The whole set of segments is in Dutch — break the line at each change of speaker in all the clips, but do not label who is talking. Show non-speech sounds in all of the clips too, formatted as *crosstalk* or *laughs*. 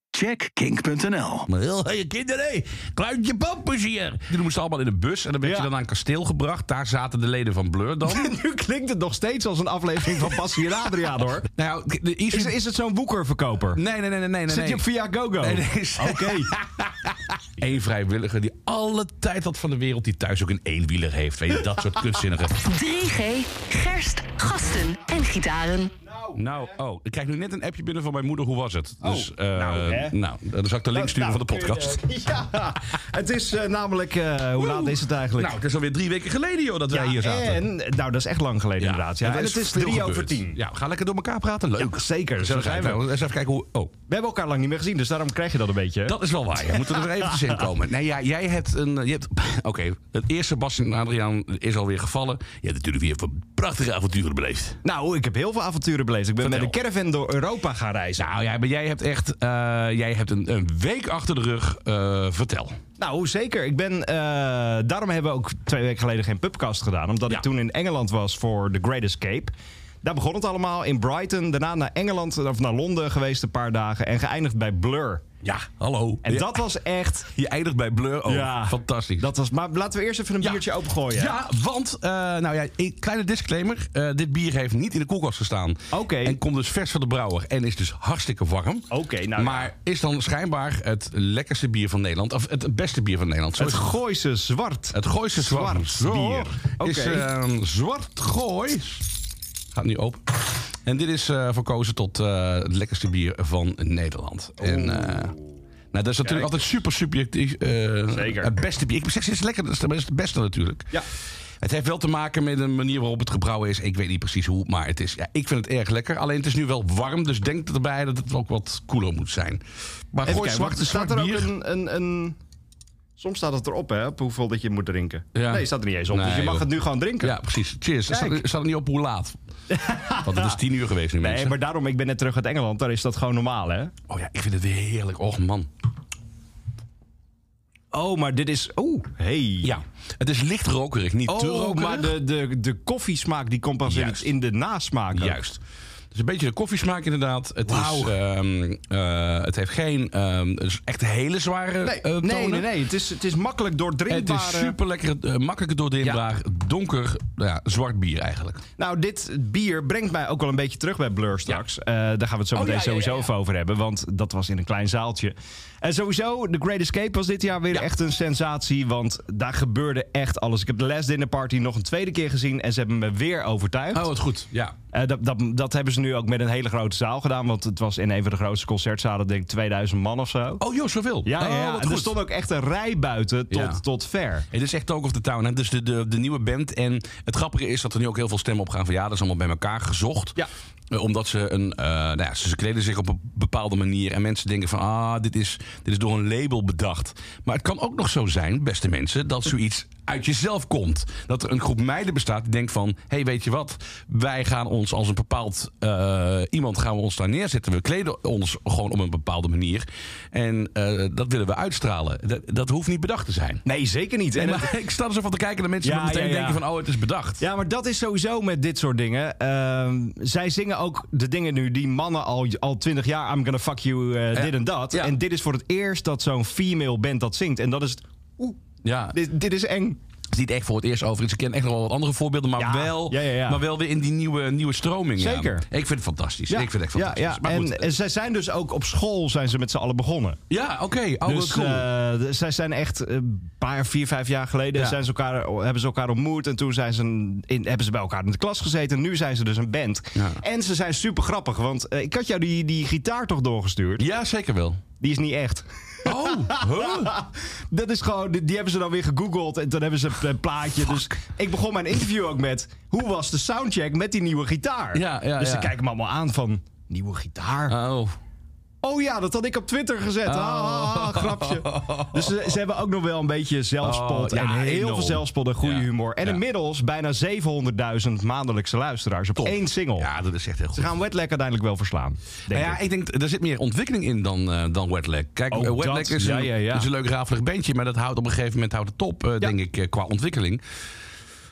check kink.nl.
Maar heel je kinderen, hé. Kluitje pap is hier.
Die moesten allemaal in een bus en dan werd
Ja. Nou,
je dan naar een kasteel gebracht. Daar zaten de leden van Blur
*laughs*
dan.
Nu klinkt het nog steeds als een aflevering van Passie en Adriaan, hoor.
nou, ja, de Isu-
Is, is het zo'n woekerverkoper?
Nee, nee, nee, nee, nee.
Zit
nee.
je op via GoGo?
Nee, nee, is-
Oké. *laughs*
Eén vrijwilliger die alle tijd had van de wereld... die thuis ook een eenwieler heeft. Weet je, dat soort kutzinnige.
*laughs*
3G, gerst, gasten en gitaren.
Nou, oh, ik krijg nu net een appje binnen van mijn moeder. Hoe was het? dus, eh,
nou, hè. nou,
nou, dan zal ik de link sturen van de podcast.
*laughs* Ja, het is eh, namelijk... eh, hoe laat is het eigenlijk?
Nou, het is alweer drie weken geleden, joh, dat wij hier zaten.
En, nou, dat is echt lang geleden inderdaad. Ja.
er
En, het is
veel
drie over
gebeurd.
tien.
Ja, we gaan lekker door elkaar praten. Leuk.
Ja, zeker. Zo
Zullen
zijn
we
we.
nou, eens even kijken hoe... Oh,
We hebben elkaar lang niet meer gezien, dus daarom krijg je dat een beetje. hè?
dat is wel waar. *laughs* Je moet er weer eventjes in komen. Nee, ja, jij hebt een... eh, je hebt- *laughs* Oké, het eerste Bastian en Adriaan is alweer gevallen. Je hebt natuurlijk weer een prachtige avonturen beleefd.
Nou, ik heb heel veel avonturen beleefd. Ik ben
Vertel.
met een caravan door Europa gaan reizen.
Nou ja, maar jij hebt echt... eh, jij hebt een, een week achter de rug. Eh, vertel.
Nou, zeker. Ik ben, eh, daarom hebben we ook twee weken geleden geen pubcast gedaan. Omdat
Ja.
ik toen in Engeland was voor The Great Escape. Daar begon het allemaal in Brighton. Daarna naar Engeland of naar Londen geweest een paar dagen. En geëindigd bij Blur.
Ja, hallo.
En
Ja,
dat was echt.
Je eindigt bij Blur. Oh,
Ja.
fantastisch.
Dat was, maar laten we eerst even een biertje opengooien.
Ja, want, eh, nou ja, een kleine disclaimer. eh, dit bier heeft niet in de koelkast gestaan.
Oké.
En komt dus vers van de brouwer. En is dus hartstikke warm.
Oké, nou ja.
maar is dan schijnbaar het lekkerste bier van Nederland. Of het beste bier van Nederland. Zo
Het
is het.
Gooise zwart.
Het Gooise Zwart.
Zwart bier.
Zo is
Oké.
ehm, Zwart Gooi. Gaat nu open. En dit is eh, verkozen tot eh, het lekkerste bier van Nederland. En, eh, nou, dat is natuurlijk altijd super subjectief. eh,
Zeker.
Het beste bier. Ik zeg, het is lekker. Het is het is het beste natuurlijk.
Ja.
Het heeft wel te maken met de manier waarop het gebrouwen is. Ik weet niet precies hoe, maar het is, ja, ik vind het erg lekker. Alleen het is nu wel warm, dus denk erbij dat het ook wat koeler moet zijn. Maar
Even
gooi
kijken,
zwart,
want staat
zwart
er
bier.
ook een, een, een. Soms staat het erop, hè, op hoeveel dat je moet drinken.
Ja.
Nee, staat er niet eens op.
Nee,
dus je mag
joh.
het nu gewoon drinken.
Ja, precies. Cheers. Er staat,
Kijk.
er staat niet op hoe
*laughs*
laat. Want het is tien uur geweest nu,
Nee,
mensen.
maar daarom, ik ben net terug uit Engeland. Daar is dat gewoon normaal, hè?
Oh ja, ik vind het weer heerlijk. Och man.
Oh, maar dit is. Oeh, hey.
Ja, het is licht rokerig, niet te
Oh,
rokerig.
maar de, de, de koffiesmaak die komt pas in, het-
Juist.
in de nasmaak. ook.
Juist. Dus een beetje de koffiesmaak inderdaad. Het, is,
Wauw.
ehm, eh, het heeft geen ehm, het is echt hele zware
Nee,
eh,
nee,
tonen.
nee, nee. Het is, het is makkelijk eh,
Het
doordrinkbare...
is super lekker, makkelijk doordrinkbaar, donker, nou ja, zwart bier eigenlijk.
Nou, dit bier brengt mij ook wel een beetje terug bij Blur straks. Eh, daar gaan we het zo
Oh,
meteen
ja, ja,
sowieso
ja, ja.
even over hebben. Want dat was in een klein zaaltje. En sowieso, The Great Escape was dit jaar weer echt een sensatie. Want daar gebeurde echt alles. Ik heb de Last Dinner Party nog een tweede keer gezien. En ze hebben me weer overtuigd.
Oh, wat goed. Ja.
Eh, dat, dat, dat hebben ze nu ook met een hele grote zaal gedaan. Want het was in een van de grootste concertzalen, denk ik, 2000 man of zo.
Oh, joh, zoveel.
Ja, ja,
oh,
ja.
wat
en er
goed.
stond ook echt een rij buiten tot,
Ja.
tot ver.
Het is echt Talk of the Town, hè? dus de, de, de nieuwe band. En het grappige is dat er nu ook heel veel stemmen op gaan van ja, dat is allemaal bij elkaar gezocht.
Ja.
Eh, omdat ze een, eh, nou ja, ze ze kleden zich op een bepaalde manier en mensen denken van ah, dit is, dit is door een label bedacht. Maar het kan ook nog zo zijn, beste mensen, dat zoiets uit jezelf komt. Dat er een groep meiden bestaat die denkt van hé, hey, weet je wat, wij gaan ons als een bepaald eh, iemand gaan we ons daar neerzetten. We kleden ons gewoon op een bepaalde manier. En eh, dat willen we uitstralen. Dat, dat hoeft niet bedacht te zijn.
Nee, zeker niet. En
En
het-
maar *laughs* ik sta er zo van te kijken naar mensen
Ja,
die meteen
ja, ja.
denken van... oh, het is bedacht.
ja, maar dat is sowieso met dit soort dingen. Ehm, zij zingen ook de dingen nu die mannen al, al 20 jaar... I'm gonna fuck you, eh, dit en dat.
Ja.
En dit is voor het eerst dat zo'n female band dat zingt. En dat is het... Oeh,
Ja. Het
dit, dit is eng.
is niet echt voor het eerst over. Ik ken echt nog wel wat andere voorbeelden, maar,
Ja.
wel,
Ja, ja, ja.
maar wel weer in die nieuwe, nieuwe stroming. ja.
Zeker.
Ik vind het fantastisch.
Ja,
Ik vind het echt
ja,
fantastisch.
ja.
Maar
En,
goed.
en zij zijn dus ook op school zijn ze met z'n allen begonnen.
ja, oké. Oh, wat
dus
cool.
eh, d- zij zijn echt eh, een paar, vier, vijf jaar geleden
Ja.
zijn ze elkaar, eh, hebben ze elkaar ontmoet. En toen zijn ze een- in, hebben ze bij elkaar in de klas gezeten. En nu zijn ze dus een band.
Ja.
En ze zijn super grappig. Want eh, ik had jou die, die gitaar toch doorgestuurd?
ja, zeker *laughs* wel.
Die is niet echt.
Oh, huh?
*laughs* Dat is gewoon, die, die hebben ze dan weer gegoogeld. En dan hebben ze een plaatje. Dus ik begon mijn interview ook met... Hoe was de soundcheck met die nieuwe gitaar?
Ja, ja,
dus ze
ja.
kijken me allemaal aan van... Nieuwe gitaar?
Oh.
Oh ja, dat had ik op Twitter gezet. Ah, ah, ah, grapje. Dus ze, ze hebben ook nog wel een beetje zelfspot.
Oh, ja,
en heel
enorm.
veel zelfspot en goede
Ja,
humor. En
ja.
inmiddels bijna 700.000 maandelijkse luisteraars op
Top.
één single.
Ja, dat is echt heel goed.
Ze gaan Wetlag uiteindelijk wel verslaan. Denk
Nou ja,
ik.
ik denk, er zit meer ontwikkeling in dan, eh, dan Wetlag. Kijk,
Oh,
eh, Wetlag
dat,
is, een,
ja, ja, ja.
is een leuk rafelig bandje, maar dat houdt op een gegeven moment houdt het op, eh,
Ja.
denk ik, eh, qua ontwikkeling.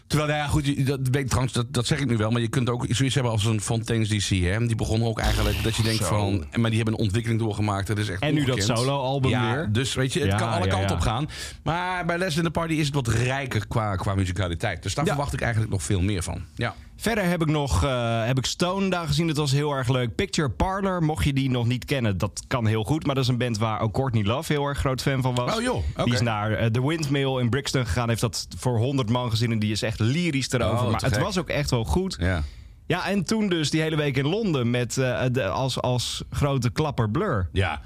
Terwijl, nou ja, goed, je- dat, weet ik trouwens, dat, dat zeg ik nu wel. Maar je kunt ook zoiets hebben als een Fontaine's DC. Hè? Die begonnen ook eigenlijk dat je denkt van... Maar die hebben een ontwikkeling doorgemaakt. Dat is echt
En nu dat
ongekend.
solo-album
ja,
weer.
Dus weet je, het
Ja,
kan alle
ja,
kanten
ja.
op gaan. Maar bij Les in the Party is het wat rijker qua, qua muzikaliteit. Dus daar
Ja.
verwacht ik eigenlijk nog veel meer van. Ja.
Verder heb ik nog eh, heb ik Stone daar gezien. Dat was heel erg leuk. Picture Parlor, mocht je die nog niet kennen, dat kan heel goed. Maar dat is een band waar ook Courtney Love heel erg groot fan van was.
Oh, joh. Oké.
Die is naar eh, The Windmill in Brixton gegaan. Heeft dat voor 100 man gezien. En die is echt lyrisch erover.
Oh,
maar
te
het
gek.
was ook echt wel goed.
ja.
Ja, en toen dus die hele week in Londen met eh, de, als, als grote klapper Blur.
Ja,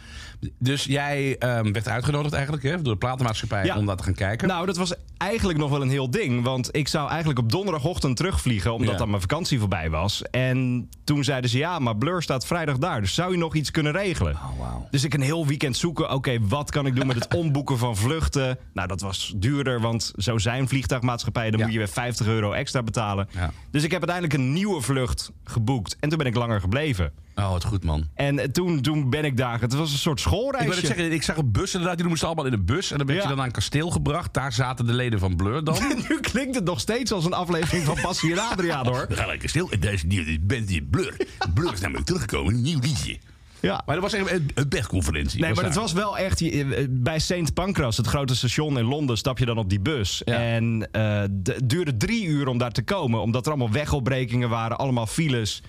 dus jij ehm, werd uitgenodigd eigenlijk hè, door de platenmaatschappij
Ja.
om daar te gaan kijken.
Nou, dat was eigenlijk nog wel een heel ding. Want ik zou eigenlijk op donderdagochtend terugvliegen, omdat
Ja.
dan mijn vakantie voorbij was. En toen zeiden ze, ja, maar Blur staat vrijdag daar. Dus zou je nog iets kunnen regelen?
Oh, wauw.
Dus ik een heel weekend zoeken. Oké, wat kan ik doen met
*laughs*
het omboeken van vluchten? Nou, dat was duurder, want zo zijn vliegtuigmaatschappijen. Dan
Ja.
moet je weer 50 euro extra betalen.
Ja.
Dus ik heb uiteindelijk een nieuwe vlucht geboekt. En toen ben ik langer gebleven.
Oh, wat goed man.
En eh, toen, toen ben ik daar. Het was een soort
Ik
schoolreisje.
wil het
*laughs*
zeggen, ik zag een bus inderdaad, die moesten allemaal in een bus. En dan werd
Ja.
je dan naar een kasteel gebracht. Daar zaten de leden van Blur *laughs* dan.
Nu klinkt het nog steeds als een aflevering van Passie en Adriaan,
*laughs*
hoor.
We gaan naar een kasteel en daar is een nieuw band in Blur. Blur is namelijk teruggekomen, een nieuw liedje.
Ja.
Maar dat was echt een, een bedconferentie.
Nee, maar het
daar.
was wel echt... je- eh, Bij St. Pancras, het grote station in Londen, stap je dan op die bus.
Ja.
En eh, d- het duurde drie uur om daar te komen. Omdat er allemaal wegopbrekingen waren, allemaal files.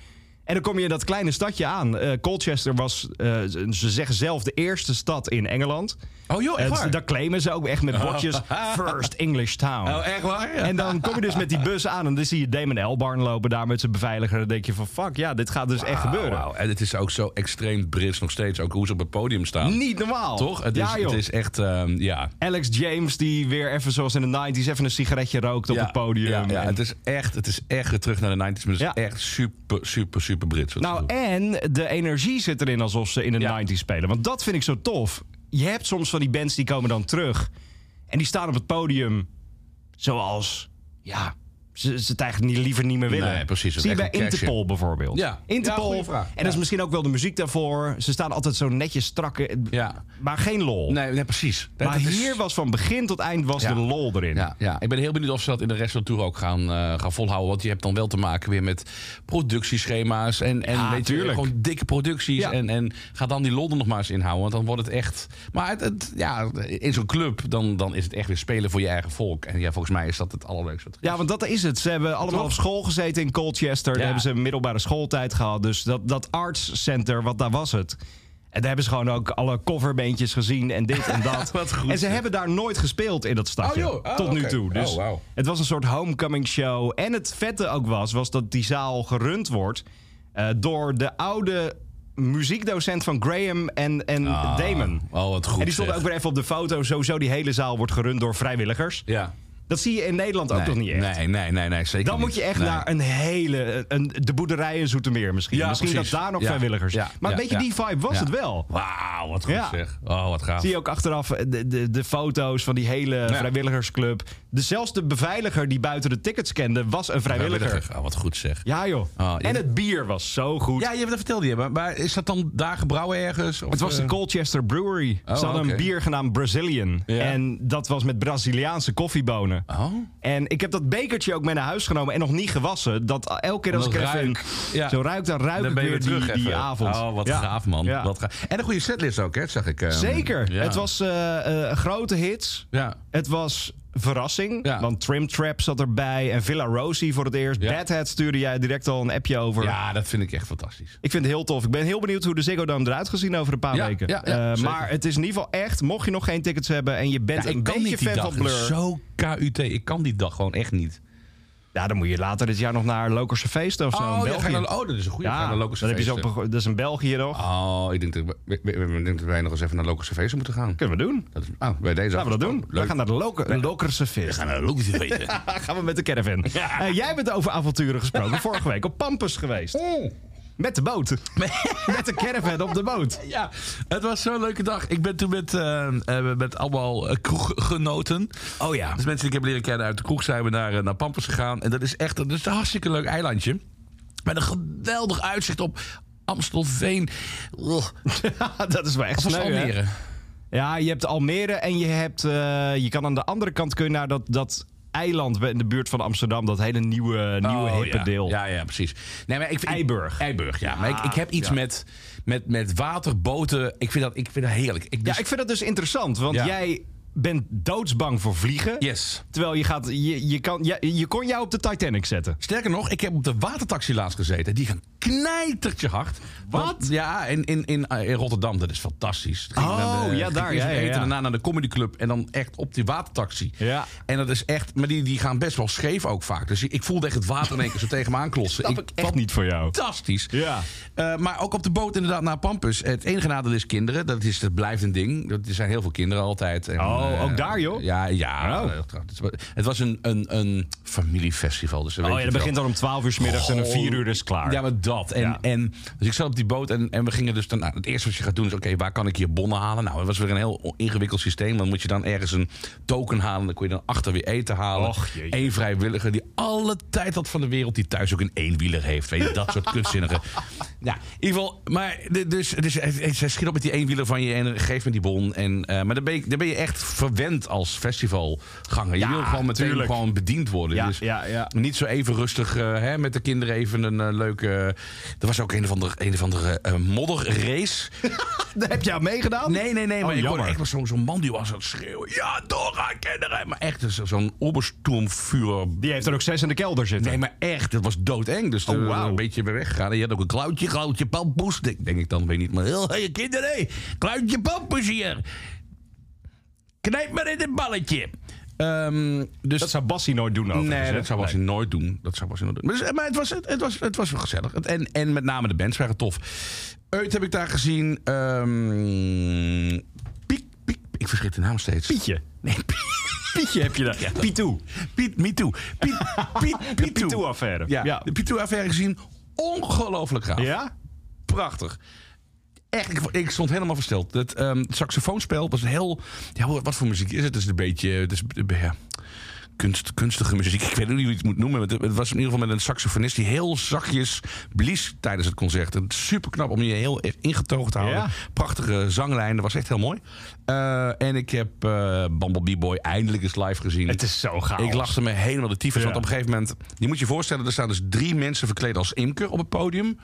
En dan kom je in dat kleine stadje aan. Eh, Colchester was, eh, ze- ze zeggen zelf, de eerste stad in Engeland.
Oh joh, echt
Eh,
waar?
dat claimen ze ook echt met
*laughs*
bordjes. First English town.
Oh, echt waar? Ja.
*laughs* En dan kom je dus met die bus aan en dan zie je Damon Albarn lopen daar met zijn beveiliger. Dan denk je van fuck, ja, dit gaat dus echt gebeuren.
Ah, Wauw, wauw. En het is ook zo extreem Brits nog steeds. Ook hoe ze op het podium staan.
Niet normaal.
Toch? Het, is,
ja, joh.
het is echt, ehm, ja.
Alex James die weer even zoals in de 90s even een sigaretje rookt op
Ja,
het podium.
Ja, ja,
En-
het, is echt, het is echt weer terug naar de 90s. Maar het is
Ja.
echt super, super, super Brits. wat ze
nou,
doen.
en de energie zit erin alsof ze in de
Ja.
90s spelen. Want dat vind ik zo tof. Je hebt soms van die bands die komen dan terug en die staan op het podium zoals, ja, ze, ze het eigenlijk niet, liever niet meer willen.
Nee, precies.
Zie je bij
Echt een crashje.
Interpol bijvoorbeeld.
Ja. Ja,
Interpol.
goeie vraag.
En
Ja.
dat is misschien ook wel de muziek daarvoor. Ze staan altijd zo netjes strakke,
Ja.
maar geen lol.
Nee, nee, precies. Dat-
Maar
dat is-
hier was van begin tot eind was
Ja.
de lol erin.
Ja, ja, ik ben heel benieuwd of ze dat in de rest van de tour ook gaan, eh, gaan volhouden. Want je hebt dan wel te maken weer met productieschema's. En, en
Ja,
weet je,
tuurlijk.
gewoon dikke producties.
Ja.
En, en ga dan die Londen nog maar eens inhouden. Want dan wordt het echt... Maar het, het- ja, in zo'n club, dan, dan is het echt weer spelen voor je eigen volk. En ja, volgens mij is dat het allerleukste. wat er
Ja, want dat is het. Ze hebben allemaal
Toch?
op school gezeten in Colchester. Daar
Ja.
hebben ze een middelbare schooltijd gehad. Dus dat, dat arts center, wat daar was het. En daar hebben ze gewoon ook alle coverbeentjes gezien en dit
*laughs*
en dat.
Wat goed,
en ze
zeg.
hebben daar nooit gespeeld in dat stadje.
Oh, joh. Oh,
tot nu
oké.
toe. Dus
Oh, wauw.
het was een soort homecoming show. En het vette ook was, was dat die zaal gerund wordt eh, door de oude muziekdocent van Graham en, en
Ah,
Damon.
Oh, wat goed
en die stond
zeg.
ook weer even op de foto. Sowieso, die hele zaal wordt gerund door vrijwilligers.
Ja.
Dat zie je in Nederland ook
nee,
nog niet echt.
Nee, nee, nee, nee zeker
Dan moet
niet.
je echt
Nee.
naar een hele. Een, de boerderijen Zoetermeer misschien.
Ja,
misschien
precies.
dat daar nog
Ja,
vrijwilligers.
ja,
maar een
ja,
beetje
ja.
die vibe was
Ja.
het wel.
Wauw, wat goed
Ja.
zeg. Oh, wat gaaf.
Zie je ook achteraf eh, de, de, de foto's van die hele vrijwilligersclub. Dus zelfs de beveiliger die buiten de tickets kende, was een vrijwilliger.
Oh, wat goed zeg.
Ja, joh.
Ah, je-
en het bier was zo goed.
Ja, je hebt dat verteld, je. Maar, maar is dat dan daar gebrouwen ergens? Of,
Het was de
eh,
Colchester Brewery.
Oh,
Ze hadden
oké.
een bier genaamd Brazilian.
Ja.
En dat was met Braziliaanse koffiebonen.
Oh.
En ik heb dat bekertje ook mee naar huis genomen en nog niet gewassen. Dat elke keer als ik
Dat
er even
ruik. Ja.
zo ruikt, dan ruik
Dan
ik
ben je
weer
weer terug
die, die
even.
avond.
Oh, wat
Ja.
gaaf, man.
Ja.
Wat gaaf. En een goede setlist ook, hè, zag ik. eh.
Zeker.
Ja.
Het was eh, eh, grote hits.
Ja.
Het was verrassing,
Ja.
want Trim Trap zat erbij en Villa Rosie voor het eerst.
Ja.
Badhead stuurde jij direct al een appje over.
ja, dat vind ik echt fantastisch.
Ik vind het heel tof. Ik ben heel benieuwd hoe de Ziggo Dome eruit gaat zien over een paar
Ja,
weken.
ja, ja,
Eh,
zeker.
maar het is in ieder geval echt, mocht je nog geen tickets hebben en je bent
Ja,
een beetje
die
fan
dag.
van Blur.
Het is Zo KUT. Ik kan die dag gewoon echt niet.
Ja, dan moet je later dit jaar nog naar Lokerse Feesten of zo. in
ja,
België.
ga je naar- oh, dat is een goede.
Ja,
Locus
dat, heb je zo, op- dat is in België nog.
Oh, ik denk, dat we, we- we- we- ik denk dat wij nog eens even naar Locus Feesten moeten gaan.
Kunnen we doen.
Dat is, ah, bij deze
Laten we dat doen.
afgesproken.
We
Leuk.
gaan naar de Loker, Lokerse Feesten.
naar Locus *laughs* Feesten.
Ah, gaan we met de *laughs* caravan. Eh, jij bent over avonturen *laughs* gesproken. Vorige week op Pampus geweest. *laughs* Met de boot. met de caravan op de *laughs* boot.
Ja, het was zo'n leuke dag. Ik ben toen met, eh, eh, met allemaal eh, kroeggenoten.
Oh ja.
Dus mensen die ik heb leren kennen uit de kroeg zijn we naar, eh, naar Pampers gegaan. En dat is echt dat is een hartstikke leuk eilandje. Met een geweldig uitzicht op Amstelveen. Ugh,
dat is wel echt
Of was het
sneu, hè?
Almere?
Ja, je hebt Almere en je hebt... eh, je kan aan de andere kant kun je naar dat, dat eiland in de buurt van Amsterdam. Dat hele nieuwe, nieuwe
Oh,
hippe
ja.
deel.
Ja, ja, precies. Nee, maar ik, ik,
Eiburg. Ah,
Eiburg, ja. Maar ik, ik heb iets
ja.
met, met, met waterboten. Ik vind dat, ik vind dat heerlijk. Ik, dus-
Ja, ik vind dat dus interessant. Want
Ja.
jij bent doodsbang voor vliegen.
Yes.
Terwijl je gaat... Je, je, kan, je, je kon jou op de Titanic zetten.
Sterker nog, ik heb op de watertaxi laatst gezeten. Die gaan knijtertje hard. Want- ja, in, in, in, eh, in Rotterdam. Dat is fantastisch. Ging
Oh,
naar
ja,
ging
daar,
eerst
ja,
nog
ja,
eten,
ja.
daarna naar de comedyclub. En dan echt op die watertaxi.
Ja.
En dat is echt... Maar die, die gaan best wel scheef ook vaak. Dus ik voelde echt het water in één keer zo tegen me
*laughs*
aanklossen.
Snap ik echt Oh niet voor jou.
Fantastisch.
Ja.
Eh, maar ook op de boot inderdaad naar Pampus. Het enige nadeel is kinderen. Dat, is, dat blijft een ding. Dat, er zijn heel veel kinderen altijd. En,
Oh,
eh,
ook daar, joh?
Ja, ja.
Oh.
eh, Het was een, een, een familiefestival. Dus dan
Oh
weet
ja,
je
dat
het wel.
begint dan om 12 uur 's middags en om 4 uur is het klaar.
Ja, maar dat. En,
Ja.
en, dus ik zat op die boot en, en we gingen dus dan... Nou, het eerste wat je gaat doen is, oké, waar kan ik hier bonnen halen? Nou, dat was weer een heel ingewikkeld systeem. Dan moet je dan ergens een token halen. Dan kon je dan achter weer eten halen.
Och, jeetje.
Eén vrijwilliger die alle tijd had van de wereld... die thuis ook een eenwieler heeft. Weet je, dat
*laughs*
soort kunstzinnige... Ja, in ieder geval... Maar de- dus, dus hij- hij- zij schiet op met die eenwieler van je en geef me die bon. En, eh, maar dan ben, je, dan ben je echt verwend als festivalganger. Je
Ja,
wil gewoon meteen
tuurlijk.
gewoon bediend worden.
Ja,
dus
ja, ja.
niet zo even rustig eh, hè, met de kinderen even een eh, leuke... er was ook een of andere, een of andere eh,
*laughs*
modderrace.
Daar heb jij aan meegedaan?
Nee, nee, nee. Maar
Oh,
ik hoorde
jammer.
echt wel zo'n zo'n man die was aan het schreeuwen. Ja, Dora, kinderen! Maar echt zo- zo'n obersturmvuur.
Die heeft er ook zes in de kelder zitten.
Nee, maar echt, het was doodeng. Dus
Oh,
er
wauw.
een beetje weer weggegaan. En je had ook een klauwtje, klauwtje, pampoes. Denk, denk ik dan, weet niet. Oh, Maar heel
Hé, kinderen, hé. Kluitje pampers hier. Knijp maar in het balletje.
Ehm, dus
Dat zou Bassie nooit doen overigens.
Nee,
hè?
dat zou Bassie nooit doen. Dat zou Bassie nooit doen. Maar, dus- maar het, was, het, het was, het was wel gezellig. Het- en, en met name de bands waren tof. Uit heb ik daar gezien. ehm, piek, piek. Ik verschrik de naam steeds.
Pietje.
Nee, *laughs* Piet,
Pietje heb je daar. Pietou.
Piet me too. Piet, *laughs* Piet,
De
Piet too.
Pietou-affaire.
Ja,
Ja.
de Piet too affaire gezien. Ongelooflijk gaaf.
Ja?
Prachtig. Echt, ik, ik stond helemaal versteld. Het ehm saxofoonspel was een heel... Ja, wat wat voor muziek is het? Het is een beetje... Het is, ja, kunst, kunstige muziek. Ik weet ook niet hoe je het moet noemen. maar Het, het was in ieder geval met een saxofonist die heel zachtjes blies tijdens het concert. Super knap om je heel even ingetogen te houden.
Ja.
Prachtige zanglijn. Dat was echt heel mooi. Eh, en ik heb eh Bumblebee Boy eindelijk eens live gezien.
Het is zo gaaf.
Ik lachte me helemaal de tyfus.
Ja.
Want op een gegeven moment... Je moet je voorstellen, er staan dus drie mensen verkleed als imker op het podium.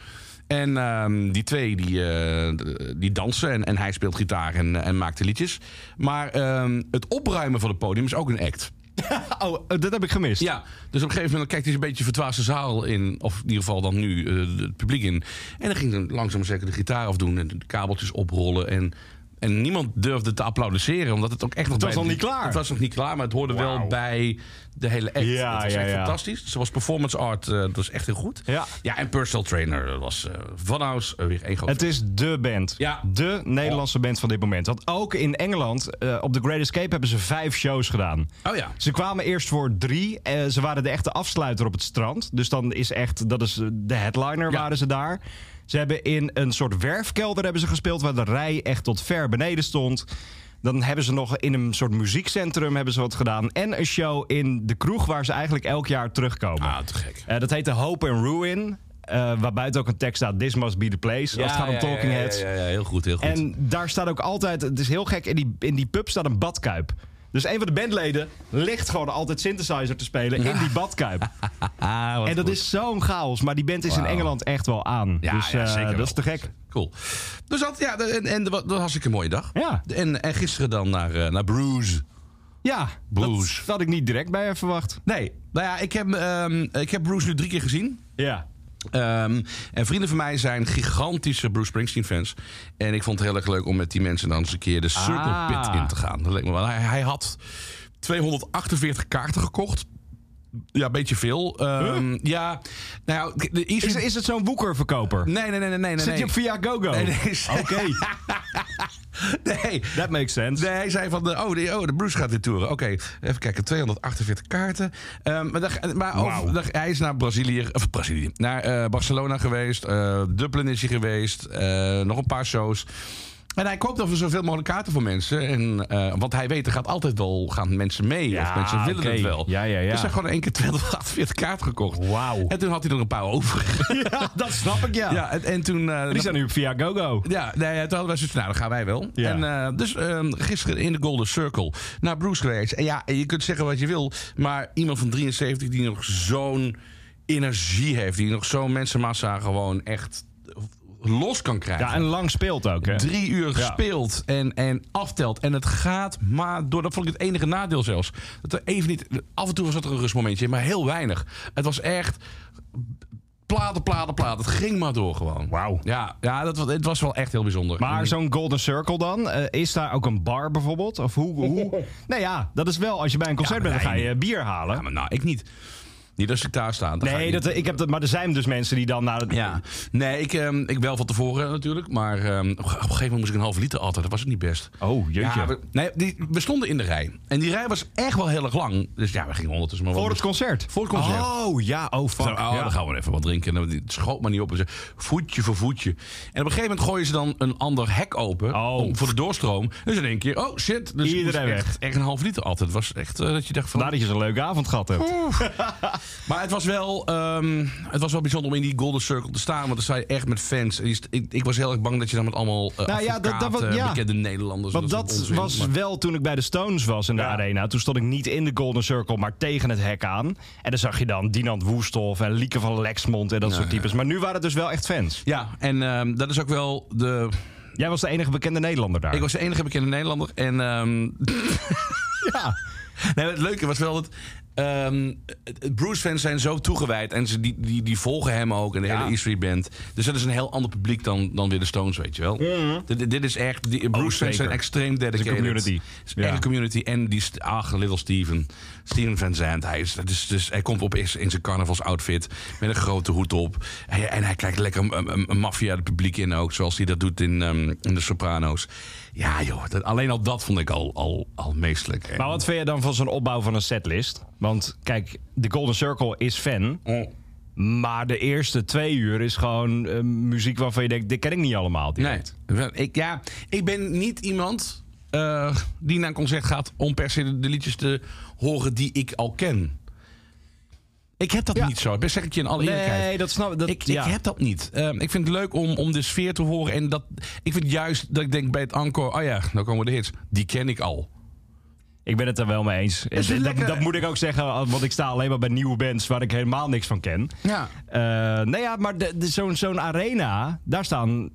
En ehm, die twee die, eh, d- die dansen en, en hij speelt gitaar en, en maakt de liedjes. Maar ehm, het opruimen van het podium is ook een act.
*laughs* Oh, dat heb ik gemist.
Ja, dus op een gegeven moment kijkt hij een beetje verdwaasd de zaal in. Of in ieder geval dan nu eh, het publiek in. En dan ging hij langzaam maar zeker de gitaar afdoen en de kabeltjes oprollen. En, en niemand durfde te applaudisseren, omdat het ook echt nog
Het was
bij-
nog niet klaar.
Het was nog niet klaar, maar het hoorde wel
Wauw.
bij de hele act.
Ja,
het was
ja,
echt
ja.
fantastisch. Ze was performance art, eh, dat was echt heel goed.
Ja.
ja en personal trainer, dat was eh van House eh, weer één groot...
Het is de band.
Ja. Oh.
De Nederlandse band van dit moment. Want ook in Engeland, eh, op The Great Escape, hebben ze vijf shows gedaan.
Oh ja.
Ze kwamen eerst voor drie. Eh, ze waren de echte afsluiter op het strand. Dus dan is echt, dat is eh, de headliner
Ja.
waren ze daar. Ze hebben in een soort werfkelder hebben ze gespeeld... waar de rij echt tot ver beneden stond. Dan hebben ze nog in een soort muziekcentrum hebben ze wat gedaan. En een show in de kroeg waar ze eigenlijk elk jaar terugkomen.
Ah, te gek.
Eh, dat heet de Hope and Ruin. eh waar buiten ook een tekst staat: This must be the place. als het gaat om Talking
ja, ja,
Heads.
Ja, ja, heel goed, heel goed.
En daar staat ook altijd: het is heel gek, in die, in die pub staat een badkuip. Dus een van de bandleden ligt gewoon altijd synthesizer te spelen in die badkuip.
*laughs* Ah, wat
En dat
goed.
is zo'n chaos. Maar die band is in
Wauw.
Engeland echt wel aan.
Ja,
dus
ja,
eh,
zeker wel.
dat is te gek.
Cool. Dus dat, ja, en, en dat was hartstikke een mooie dag.
Ja.
En, en gisteren dan naar, eh, naar Bruges.
Ja,
Blues.
dat had ik niet direct bij haar verwacht.
Nee, nou ja, ik heb, ehm, ik heb Bruce nu drie keer gezien.
Ja.
Ehm, en vrienden van mij zijn gigantische Bruce Springsteen fans. En ik vond het heel erg leuk om met die mensen dan eens een keer de Circle
Ah.
Pit in te gaan. Dat leek me wel. Hij, hij had 248 kaarten gekocht. Ja, een beetje veel. Ehm, Ja, nou ja, de
Is,
Eastern...
is het zo'n woekerverkoper?
Nee, nee, nee, nee, nee.
Zit
nee.
je
*laughs*
op via GoGo?
Nee, nee,
Oké,
*laughs* nee.
that makes sense.
Nee, hij zei van, de, oh, de, oh, de Bruce gaat dit toeren. Oké, even kijken, 248 kaarten. Ehm, maar daar- maar over-
Wauw.
daar- hij is naar Brazilië, of Brazilië, naar eh, Barcelona geweest. eh, Dublin is hij geweest. eh, nog een paar shows. En hij koopt over zoveel mogelijk kaarten voor mensen. En, eh, want hij weet, er gaat altijd wel gaan mensen mee.
Ja,
of mensen willen
oké.
het wel.
Ja, ja, ja.
Dus hij heeft gewoon één keer 248 kaarten gekocht.
Wauw.
En toen had hij er een paar over.
*laughs* Ja, dat snap ik,
Ja, en, en toen... eh,
Die zijn nu op via GoGo.
ja, nee, toen hadden wij zoiets van, nou, dan gaan wij wel.
Ja.
En, eh, dus ehm, gisteren in de Golden Circle naar Bruce geweest. En ja, je kunt zeggen wat je wil, maar iemand van 73 die nog zo'n energie heeft... die nog zo'n mensenmassa gewoon echt los kan krijgen.
Ja, en lang speelt ook, hè?
Drie uur
Ja.
gespeeld en, en aftelt. En het gaat maar door. Dat vond ik het enige nadeel zelfs. Dat er even niet, af en toe zat er een rustmomentje in, maar heel weinig. Het was echt platen, platen, platen. Het ging maar door gewoon.
Wauw.
Ja, ja dat was, het was wel echt heel bijzonder.
Maar zo'n Golden Circle dan, eh, is daar ook een bar bijvoorbeeld? Of hoe,
*laughs*
hoe? Nou ja, dat is wel, als je bij een concert
Ja, maar
bent, dan ga
wij
je bier halen.
Ja, maar nou, ik niet. Niet als ik daar sta. dan ga
nee,
ik
dat, eh,
niet.
ik heb dat, maar er zijn dus mensen die dan naar het...
Ja, nee, ik, ehm, ik wel van tevoren natuurlijk. Maar ehm, op een gegeven moment moest ik een half liter atten. Dat was ook niet best.
Oh, jeetje.
Ja, we, nee, die, we stonden in de rij. En die rij was echt wel heel erg lang. Dus ja, we gingen ondertussen maar wel-
Voor het concert.
Voor het concert.
Oh ja, oh fuck.
Zo, oh,
ja.
dan gaan we even wat drinken. En dan- Het schoot maar niet op. En ze, voetje voor voetje. En op een gegeven moment gooien ze dan een ander hek open.
Oh.
om- voor de doorstroom. Dus in één keer, oh shit. Dus ik
Iedereen
moest
weg.
Echt, echt een half liter altijd. Het was echt eh, dat je dacht van...
Vandaar dat je zo'n leuke avond gehad hebt.
Maar het was, wel, ehm, het was wel bijzonder om in die Golden Circle te staan. Want er sta je echt met fans. En je st- Ik, ik was heel erg bang dat je dan met allemaal eh
Nou ja, dat- dat
advocaten,
was- ja.
bekende Nederlanders...
Want
soort
dat
onzin,
was
maar-
wel toen ik bij de Stones was in de
Ja.
arena. Toen stond ik niet in de Golden Circle, maar tegen het hek aan. En dan zag je dan Dinant Woesthof en Lieke van Lexmond en dat
Nou
soort types. Maar nu waren het dus wel echt fans.
Ja, en ehm, dat is ook wel de...
Jij was de enige bekende Nederlander daar.
Ik was de enige bekende Nederlander. En ehm, *laughs*
Ja.
Nee, het leuke was wel dat. ehm, het- Bruce-fans zijn zo toegewijd. En ze, die, die, die volgen hem ook. En de hele E Street Band. Dus dat is een heel ander publiek dan, dan weer de Stones, weet je wel. dit, dit is echt. die- Bruce-fans
Mhm. Oh, zeker.
zijn extreem dedicated.
community.
Het is
Ja.
echt een community. En die. st- Ach, Little Steven. Steven Van Zandt. Hij, is, dat is, dus, hij komt op is- in zijn carnavalsoutfit. Met een grote hoed op. Hij- en hij kijkt lekker een, een, een maffia het publiek in ook. Zoals hij dat doet in, ehm, in De Soprano's. Ja, joh. dat- alleen al dat vond ik al, al, al meestelijk. En-
Maar wat vind je dan van zo'n opbouw van een setlist? Want kijk, de Golden Circle is fan.
Oh.
Maar de eerste twee uur is gewoon eh, muziek waarvan je denkt, dit ken ik niet allemaal.
Nee. Wel, Ik, ja, ik ben niet iemand eh, die naar een concert gaat om per se de, de liedjes te horen die ik al ken. Ik heb dat
Ja.
niet zo. Dat zeg ik je in alle eerlijkheid.
Nee, dat snap dat,
Ik,
ja.
ik heb dat niet. Ehm, ik vind het leuk om, om de sfeer te horen. En dat, ik vind juist dat ik denk bij het encore... Oh ja, nou komen de hits. Die ken ik al.
Ik ben het er wel mee eens.
is
Dat- dat,
lekker.
dat moet ik ook zeggen, want ik sta alleen maar bij nieuwe bands waar ik helemaal niks van ken.
Ja.
Eh nou ja, maar de- de- zo'n zo'n arena, daar staan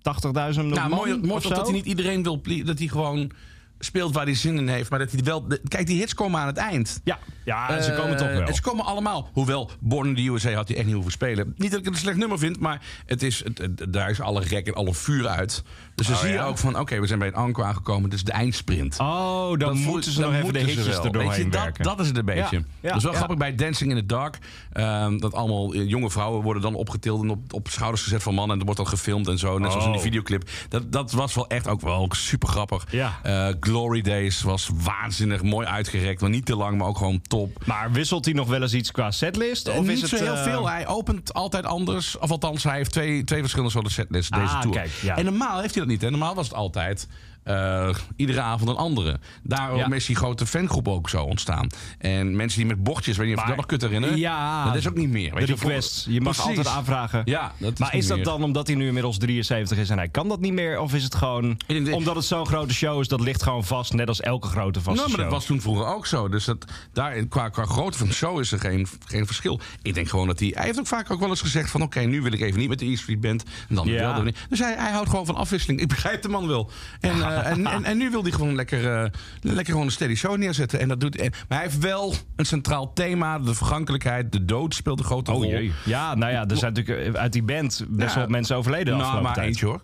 80.000
Nou,
man
mooi, mooi toch
of zo.
dat hij niet iedereen wil... plie- Dat hij gewoon speelt waar hij zin in heeft. Maar dat hij wel... de- kijk, die hits komen aan het eind.
Ja, ja ze komen
Eh,
toch wel.
Ze komen allemaal. Hoewel, Born in the USA had hij echt niet hoeven spelen. Niet dat ik het een slecht nummer vind, maar het is, het, het- daar is alle rek en alle vuur uit. Dus dan zie je
Oh, ja?
ook van, oké, we zijn bij een anker aangekomen. Dit is de eindsprint.
Oh, dan,
Dan moet-
moeten ze
dan
nog even de
moeten ze
hitjes
wel.
er
Weet je,
doorheen
dat,
werken.
dat is het een beetje.
Ja, ja,
dat is wel
ja.
grappig bij Dancing in the Dark. ehm, dat allemaal eh, jonge vrouwen worden dan opgetild en op, op schouders gezet van mannen. En er wordt dan gefilmd en zo. Net zoals in die
Oh.
videoclip. Dat, dat was wel echt ook wel super grappig.
Ja.
Eh, Glory Days was waanzinnig mooi uitgerekt. Maar niet te lang, maar ook gewoon top.
Maar wisselt hij nog wel eens iets qua setlist? Of
Of niet
is
is
het,
zo heel
eh,
veel. Hij opent altijd anders. Of althans, hij heeft twee, twee verschillende soorten setlists
Ah,
deze tour.
kijk, ja.
En normaal heeft hij dat niet. Hè? Normaal was het altijd eh, iedere avond een andere. Daarom
Ja.
is die grote fangroep ook zo ontstaan. En mensen die met bochtjes, weet je of je
Maar-
dat nog kunt herinneren.
Ja.
dat is ook niet meer.
De
Weet je,
request.
voor-
Je mag
Precies.
altijd aanvragen.
Ja, dat is
maar
niet
is dat
meer.
dan omdat hij nu inmiddels 73 is en hij kan dat niet meer? Of is het gewoon
denk dat-
omdat het zo'n grote show is, dat ligt gewoon vast, net als elke grote vaste
Nou, maar dat
show?
was toen vroeger ook zo. Dus dat, daar, qua, qua grootte van de show is er geen, geen verschil. Ik denk gewoon dat hij... Hij heeft ook vaak ook wel eens gezegd van... oké, nu wil ik even niet met de E Street Band. En dan
Ja.
wel. dan niet. Dus hij, hij houdt gewoon van afwisseling. Ik begrijp de man wel. En, eh,
*laughs*
en, en, en nu wil hij gewoon lekker, eh, lekker gewoon een steady show neerzetten. En dat doet, en, maar hij heeft wel een centraal thema. De vergankelijkheid, de dood speelt een grote rol.
Ja, nou ja, er zijn natuurlijk eh, uit die band best
Ja.
wel wat mensen overleden de
Nou,
afgelopen
maar
tijd.
eentje hoor.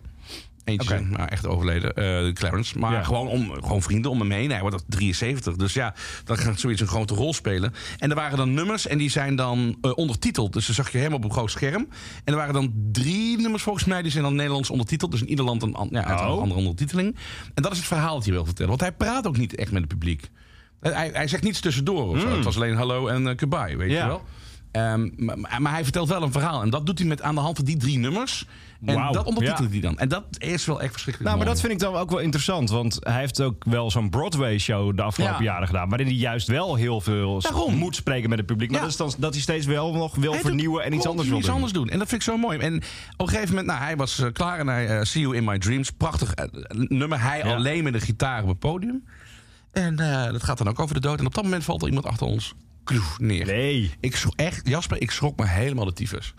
Eentje,
Oké.
maar echt overleden, eh, Clarence. Maar
Ja.
gewoon, om, gewoon vrienden om hem heen. Hij wordt al 73, dus ja, dan gaat zoiets een grote rol spelen. En er waren dan nummers en die zijn dan eh, ondertiteld. Dus dan zag je hem op een groot scherm. En er waren dan drie nummers volgens mij, die zijn dan Nederlands ondertiteld. Dus in ieder land een, an- ja, uit een
Oh.
andere ondertiteling. En dat is het verhaal dat hij wil vertellen. Want hij praat ook niet echt met het publiek. Eh, Hij, hij zegt niets tussendoor of zo. Het was alleen hallo en eh, goodbye, weet
Hmm. Ja.
je wel. Ehm, maar, maar- maar hij vertelt wel een verhaal. En dat doet hij met aan de hand van die drie nummers. En
Wauw,
dat ondertitelt
ja.
hij dan. En dat is wel echt verschrikkelijk
Nou, maar
mooi.
dat vind ik dan ook wel interessant. Want hij heeft ook wel zo'n Broadway-show de afgelopen
Ja.
jaren gedaan. Waarin hij juist wel heel veel s-
Daarom.
moet spreken met het publiek. Maar
Ja.
dat is dan dat hij steeds wel nog wil
Hij doet
vernieuwen en iets
continu
anders wil
iets
doen.
anders doen. En dat vind ik zo mooi. En op een gegeven moment, nou, hij was eh, klaar en hij eh, See You In My Dreams. Prachtig eh, nummer. Hij
Ja.
alleen met een gitaar op het podium. En eh, dat gaat dan ook over de dood. En op dat moment valt er iemand achter ons kloef, neer.
Nee.
Ik schrok echt, Jasper, ik schrok me helemaal de tyfus.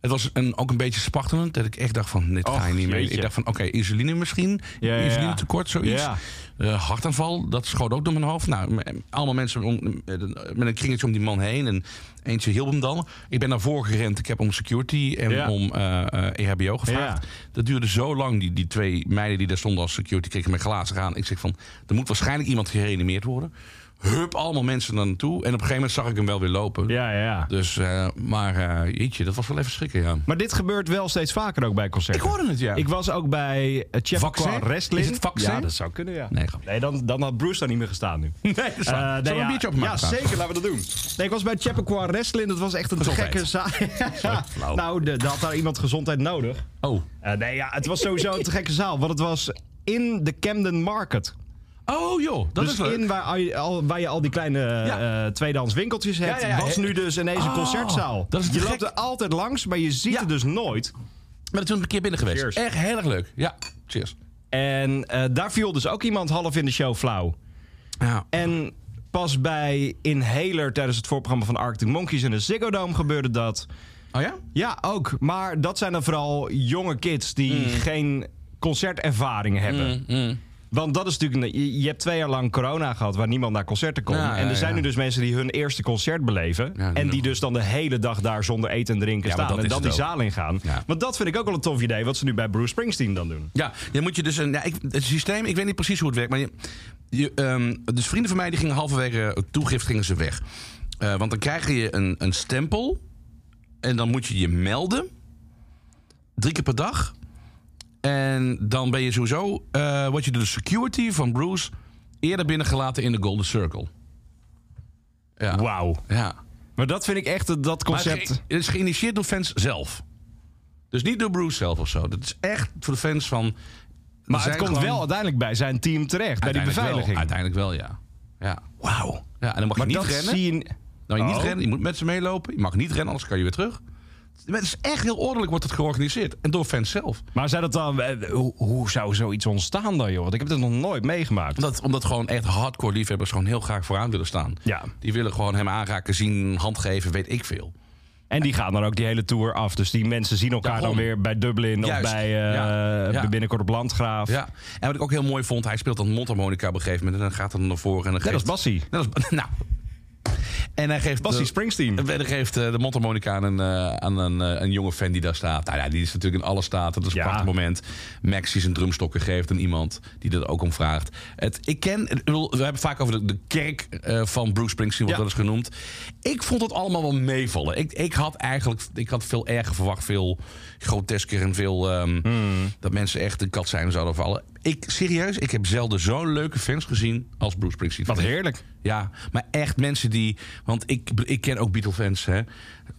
Het was een, ook een beetje spachtelend. Dat ik echt dacht van, dit ga
Och,
je niet mee.
jeetje.
Ik dacht van, oké, insuline misschien.
Ja, ja, ja.
insuline tekort, zoiets.
Ja.
Eh, hartaanval, dat schoot ook door mijn hoofd. Nou, m- allemaal mensen om, met een- met een kringetje om die man heen. En eentje hielp hem dan. Ik ben naar voren gerend. Ik heb om security en
Ja.
om eh, eh, EHBO gevraagd.
Ja.
Dat duurde zo lang. Die, die twee meiden die daar stonden als security kregen mijn glazen aan. Ik zeg van, er moet waarschijnlijk iemand gereanimeerd worden. Hup, allemaal mensen naar naartoe. En op een gegeven moment zag ik hem wel weer lopen.
Ja, ja, ja.
Dus, eh, maar eh, jeetje, dat was wel even schrikken, ja.
Maar dit gebeurt wel steeds vaker ook bij
Ik
concerten.
hoorde het, ja.
Ik was ook bij eh, Chappaqua
Vaccin?
Wrestling.
Is het vaccin?
Ja, dat zou kunnen, ja.
Nee, grapje.
Nee, dan, dan had Bruce daar niet meer gestaan nu.
*laughs* Nee, dat is
Eh,
waar.
nee,
Zullen we
ja.
een biertje
Ja,
openmaken?
zeker, laten we dat doen. Nee, ik was bij Chappaqua Wrestling. Dat was echt een gekke zaal. Ja.
flauw.
*laughs* Nou, de- er had daar iemand gezondheid nodig.
Oh.
Eh, nee, ja, het was sowieso een te gekke zaal. Want het was in de Camden Market.
oh, joh, dat
dus
is leuk.
in waar, al- al, waar je al die kleine
Ja.
eh, tweedehands winkeltjes hebt,
Ja, ja, ja.
was nu dus ineens een
Ah,
concertzaal.
dat is te
je
gek.
loopt er altijd langs, maar je ziet
Ja.
het dus nooit.
Maar toen een keer binnen geweest.
Cheers.
Echt heel erg leuk. Ja, cheers.
En eh, daar viel dus ook iemand half in de show flauw.
Ja.
En pas bij Inhaler tijdens het voorprogramma van Arctic Monkeys in de Ziggo Dome gebeurde dat.
Oh ja?
Ja, ook. Maar dat zijn dan vooral jonge kids die
Mm.
geen concertervaring hebben. Want dat is natuurlijk. Je, je hebt twee jaar lang corona gehad waar niemand naar concerten kon.
Ja,
en er
Nou, ja,
zijn
ja.
nu dus mensen die hun eerste concert beleven.
Ja,
en die
nog.
dus dan de hele dag daar zonder eten en drinken
Ja, maar
staan.
dat
En
is
dan die
het ook.
zaal ingaan.
Ja.
Want dat vind ik ook wel een tof idee. Wat ze nu bij Bruce Springsteen dan doen.
Ja, dan moet je dus een. Ja, ik, het systeem, ik weet niet precies hoe het werkt, maar je, je, ehm, dus vrienden van mij die gingen halverwege het toegift gingen ze weg. Eh, want dan krijg je een, een stempel en dan moet je je melden. Drie keer per dag. En dan ben je sowieso, eh word je door de security van Bruce eerder binnengelaten in de Golden Circle. Ja.
Wauw.
ja.
Maar dat vind ik echt eh, dat
Maar
concept.
Het ge- het is geïnitieerd door fans zelf. Dus niet door Bruce zelf of zo. Dat is echt voor de fans van.
maar het komt wel uiteindelijk bij zijn team terecht. Bij die beveiliging.
Wel, uiteindelijk wel, ja. ja.
Wauw.
ja en dan mag
Maar
je niet
dat
rennen.
zie je.
Dan mag je niet
Oh.
rennen. Je moet met ze meelopen. Je mag niet rennen, anders kan je weer terug. Het is echt heel ordelijk wordt het georganiseerd. En door fans zelf.
Maar zijn dat dan, eh, hoe, hoe zou zoiets ontstaan dan, joh? Want ik heb dat nog nooit meegemaakt.
Omdat, omdat gewoon echt hardcore liefhebbers gewoon heel graag vooraan willen staan.
Ja.
Die willen gewoon hem aanraken, zien, hand geven, weet ik veel.
En die gaan dan ook die hele tour af. Dus die mensen zien elkaar
Daarom.
dan weer bij Dublin
Juist.
of bij, eh,
Ja. Ja.
bij binnenkort op Landgraaf.
Ja. En wat ik ook heel mooi vond, hij speelt dan mondharmonica op een gegeven moment. En dan gaat hij naar voren en dan
Net als
geeft...
Bassie.
Net als- *laughs* nou. En hij geeft...
Bassie
de-
Springsteen.
En verder geeft eh, de mondharmonica aan, een, eh, aan een, eh, een jonge fan die daar staat. Nou ja, die is natuurlijk in alle staat. Dat is een
Ja.
prachtig moment. Maxi zijn drumstokken geeft aan iemand die er ook om vraagt. Het, ik ken, ik bedoel, we hebben het vaak over de, de kerk eh, van Bruce Springsteen, wordt
Ja.
dat is genoemd. Ik vond het allemaal wel meevallen. Ik, ik had eigenlijk ik had veel erger verwacht. Veel grotesker en veel ehm,
Hmm.
dat mensen echt de kat zijn zouden vallen. Ik, serieus, ik heb zelden zo'n leuke fans gezien als Bruce Springsteen.
Wat
fans.
heerlijk.
Ja, maar echt mensen die. Want ik, ik ken ook Beatle-fans, hè.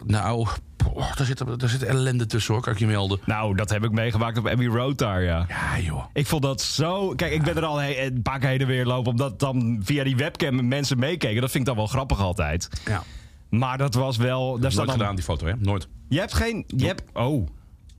Nou, poh, daar, zit, daar zit ellende tussen hoor, kan ik je melden.
Nou, dat heb ik meegemaakt op Abbey Road daar, ja.
Ja, joh.
Ik vond dat zo... Kijk, ik ben er al he- een paar keer heen en weer lopen... omdat dan via die webcam mensen meekeken. Dat vind ik dan wel grappig altijd.
Ja.
Maar dat was wel... Daar
Nooit
staat dan-
gedaan, die foto, hè? Nooit.
Je hebt geen... Je hebt, oh,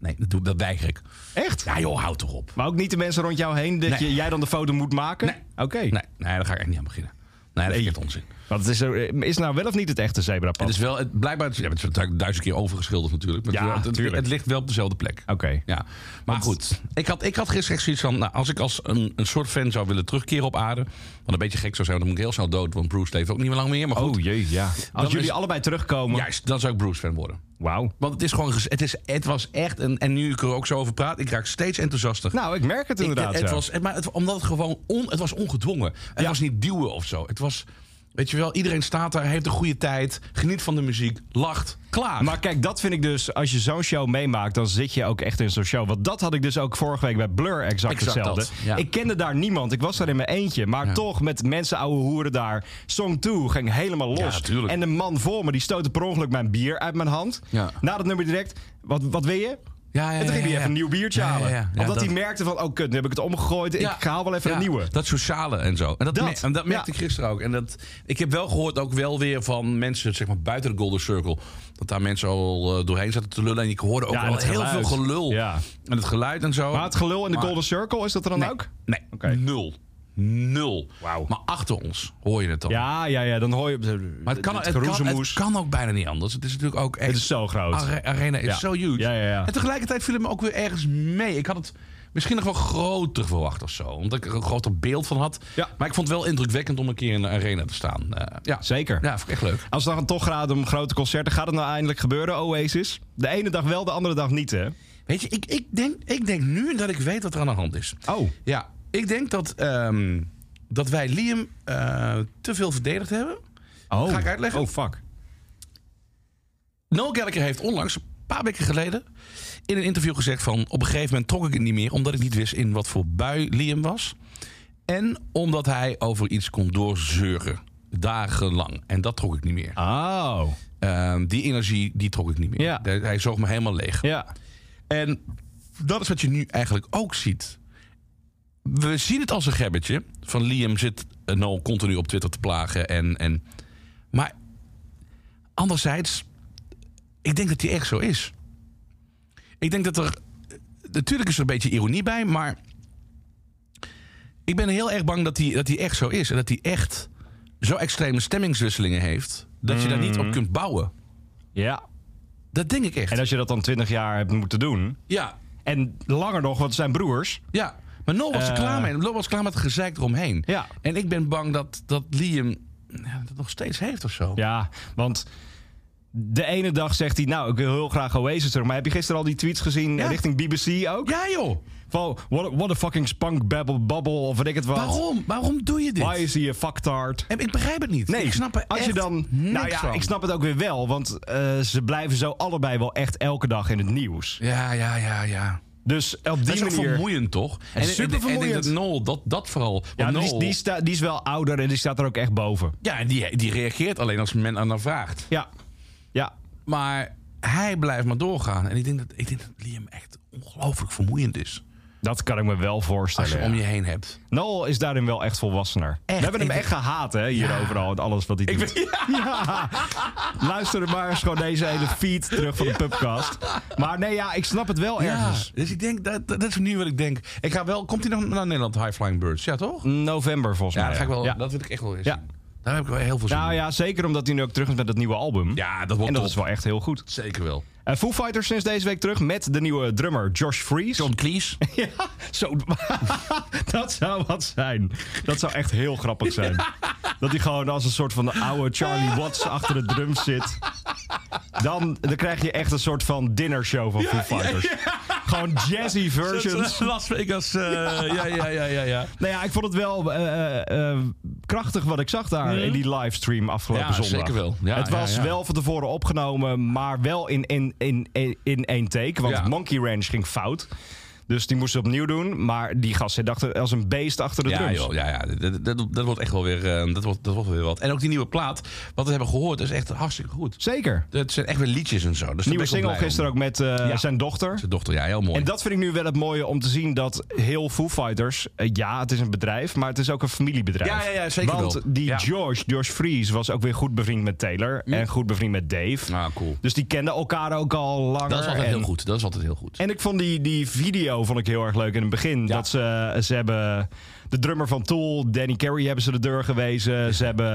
Nee, dat, doe, dat weiger ik.
echt?
Ja, joh, houd toch op.
Maar ook niet de mensen rond jou heen dat
Nee.
je, jij dan de foto moet maken?
Nee.
Oké.
Nee, nee, daar ga ik echt niet aan beginnen. Nee, dat vind ik echt onzin.
Want het is, er- is nou wel of niet het echte zebrapad?
Het is wel, het, blijkbaar, het- ja, het is du- duizend keer overgeschilderd natuurlijk. Maar
Ja,
het- het,
tuurlijk.
het ligt wel op dezelfde plek.
Oké.
Ja, maar goed. Ik had, ik had gisteren echt zoiets van, nou, als ik als een, een soort fan zou willen terugkeren op aarde, wat een beetje gek zou zijn, want dan moet ik heel snel dood, want Bruce leeft ook niet meer lang meer. Maar goed,
Oh jee, ja. Als
Dan
jullie
is-
allebei terugkomen.
juist, dan zou ik Bruce fan worden.
Wauw.
Want het is gewoon, gez- het, is, het was echt, een, en nu ik er ook zo over praat, ik raak steeds enthousiaster.
Nou, ik merk het
Ik-
inderdaad.
het
ja.
was, maar het, omdat het gewoon on, het was ongedwongen. Het was niet duwen of zo. Het was Weet je wel, iedereen staat daar, heeft een goede tijd, geniet van de muziek, lacht, klaar.
Maar kijk, dat vind ik dus, als je zo'n show meemaakt, dan zit je ook echt in zo'n show. Want dat had ik dus ook vorige week bij Blur exact,
Exact
hetzelfde.
dat, ja.
Ik kende daar niemand, ik was daar in mijn eentje. Maar toch, met mensen ouwe hoeren daar. Song 2 ging helemaal los.
Ja, tuurlijk.
en de man voor me, die stootte per ongeluk mijn bier uit mijn hand.
Ja.
Na dat nummer direct, wat, wat wil je?
Ja, ja,
en toen ging
ja,
hij
ja.
even een nieuw biertje
Ja, ja,
halen.
ja. Ja,
Omdat
dat-
hij merkte van, oh kut, nu heb ik het omgegooid.
Ja.
Ik haal wel even
Ja,
een nieuwe.
Dat sociale en zo. En dat,
Dat,
me- en dat merkte
ja.
ik gisteren ook. En dat, ik heb wel gehoord, ook wel weer van mensen zeg maar, buiten de Golden Circle. Dat daar mensen al eh, doorheen zaten te lullen. En ik hoorde ook
Ja, en
al
het
heel veel
geluid.
gelul.
Ja.
En het geluid en zo.
Maar het gelul in de
Maar-
Golden Circle, is dat er dan
Nee.
ook?
Nee,
Oké.
nul. Nul.
Wauw.
Maar achter ons hoor je het dan.
Ja, ja, ja, dan hoor je
Maar het kan, het, kan, het
geroezemoes.
kan ook bijna niet anders. Het is natuurlijk ook echt... Ah,
Het is zo groot.
Are- arena is
Ja.
zo huge.
Ja, ja, ja.
En tegelijkertijd viel het me ook weer ergens mee. Ik had het misschien nog wel groter verwacht of zo. Omdat ik er een groter beeld van had.
Ja.
Maar ik vond het wel indrukwekkend om een keer in de arena te staan. Eh, ja.
Zeker.
Ja, vond ik echt leuk.
Als het dan toch gaat om grote concerten, gaat het nou eindelijk gebeuren, Oasis? De ene dag wel, de andere dag niet, hè?
Weet je, ik, ik, denk, ik denk nu dat ik weet wat er aan de hand is.
Oh.
Ja, ik denk dat, ehm, dat wij Liam eh, te veel verdedigd hebben.
oh.
Ga ik uitleggen?
Oh, fuck.
Noel Gallagher heeft onlangs, een paar weken geleden, in een interview gezegd van... op een gegeven moment trok ik het niet meer omdat ik niet wist in wat voor bui Liam was. En omdat hij over iets kon doorzeuren. Dagenlang. En dat trok ik niet meer.
Oh.
Ehm, die energie, die trok ik niet meer.
Ja.
Hij- Hij zoog me helemaal leeg.
Ja.
En dat is wat je nu eigenlijk ook ziet. We zien het als een gebbetje. Van Liam zit eh, Noel continu op Twitter te plagen. En, en... Maar anderzijds, ik denk dat hij echt zo is. Ik denk dat er... eh, Natuurlijk is er een beetje ironie bij, maar... Ik ben heel erg bang dat hij, dat hij echt zo is. En dat hij echt zo extreme stemmingswisselingen heeft... dat je daar niet op kunt bouwen.
Ja.
Dat denk ik echt.
Mm. En als je dat dan twintig jaar hebt moeten doen...
Ja,
En langer nog, want het zijn broers.
Ja, maar Noel was er
Eh.
klaar mee. Noel was klaar met het gezeik eromheen.
Ja.
En ik ben bang dat, dat Liam ja, dat nog steeds heeft of zo.
Ja, want... De ene dag zegt hij, nou, ik wil heel graag Oasis terug. Maar heb je gisteren al die tweets gezien eh, richting BBC ook?
Ja, joh.
Van, what a, what a fucking spunk babble bubble of weet ik het wat.
Waarom? Waarom doe je dit?
Why is he a fucktard?
En ik begrijp het niet.
Nee,
ik snap er
als je
echt
dan.
niks
nou ja,
van.
ik snap het ook weer wel, want eh, ze blijven zo allebei wel echt elke dag in het nieuws.
Ja, ja, ja, ja.
Dus op
Dat is
die
ook
manier.
vermoeiend, toch? En ik-
super
ik- en ik denk
vermoeiend.
dat Noel, dat, dat vooral.
Ja,
want
die, is-
Noel-
die, sta, die is wel ouder en die staat er ook echt boven.
ja, en die, die reageert alleen als men aan haar vraagt.
Ja. Ja.
Maar hij blijft maar doorgaan. En ik denk dat, ik denk dat Liam echt ongelooflijk vermoeiend is.
Dat kan ik me wel
Als je
voorstellen.
hem om
ja.
je heen hebt.
Noel is daarin wel echt volwassener. We hebben hem
ik-
echt gehaat hè, hier overal. en Alles wat hij doet. *laughs* Ja. Luister maar eens gewoon deze hele feed terug van de pubcast. Maar nee, ja, ik snap het wel ergens.
Ja, dus ik denk, dat, dat dat is nu wat ik denk. Ik ga wel, komt hij dan naar Nederland, High Flying Birds? Ja, toch?
November volgens
Ja,
mij.
dat, ga ik wel,
ja.
dat wil ik echt wel eens
Ja.
zien. Daar heb ik wel heel veel zin
Nou
in.
ja, zeker omdat hij nu ook terug is met het nieuwe album.
Ja, dat wordt
En dat
top.
is wel echt heel goed.
Zeker wel.
Eh, Foo Fighters sinds deze week terug met de nieuwe drummer Josh Freeze.
John *laughs* Cleese.
Ja, zo, *laughs* dat zou wat zijn. Dat zou echt heel grappig zijn. Dat hij gewoon als een soort van oude Charlie Watts achter de drums zit. Dan, dan krijg je echt een soort van dinnershow van Foo Fighters. Gewoon jazzy versions.
Las Vegas. eh, ja, ja, ja, ja. *laughs* ja.
Nou ja, ik vond het wel eh, eh, eh, krachtig wat ik zag daar in die livestream afgelopen
Ja,
zondag.
zeker wel. Ja,
het
ja,
was
ja.
wel van tevoren opgenomen, maar wel in, in, in, in, in één take. Want
Ja.
Monkey Ranch ging fout. Dus die moesten opnieuw doen. Maar die gast zit achter, als een beest achter de
Ja,
drums.
joh, ja, ja. Dat, dat, dat wordt echt wel weer, eh, dat wordt, dat wordt weer wat. En ook die nieuwe plaat, wat we hebben gehoord, is echt hartstikke goed.
Zeker.
Het zijn echt weer liedjes en zo. Dus
Nieuwe single gisteren ook met eh,
Ja.
zijn dochter.
Zijn dochter, ja, heel mooi.
En dat vind ik nu wel het mooie om te zien dat heel Foo Fighters... eh, ja, het is een bedrijf, maar het is ook een familiebedrijf.
Ja, ja, ja, zeker
Want
wel.
die
Ja.
George, George Fries, was ook weer goed bevriend met Taylor. En goed bevriend met Dave.
Ah, cool.
Dus die kenden elkaar ook al langer.
Dat is altijd
en,
heel goed. Dat is altijd heel goed.
En ik vond die, die video vond ik heel erg leuk in het begin. Dat ze, ze hebben de drummer van Tool, Danny Carey, hebben ze de deur gewezen. Ze hebben...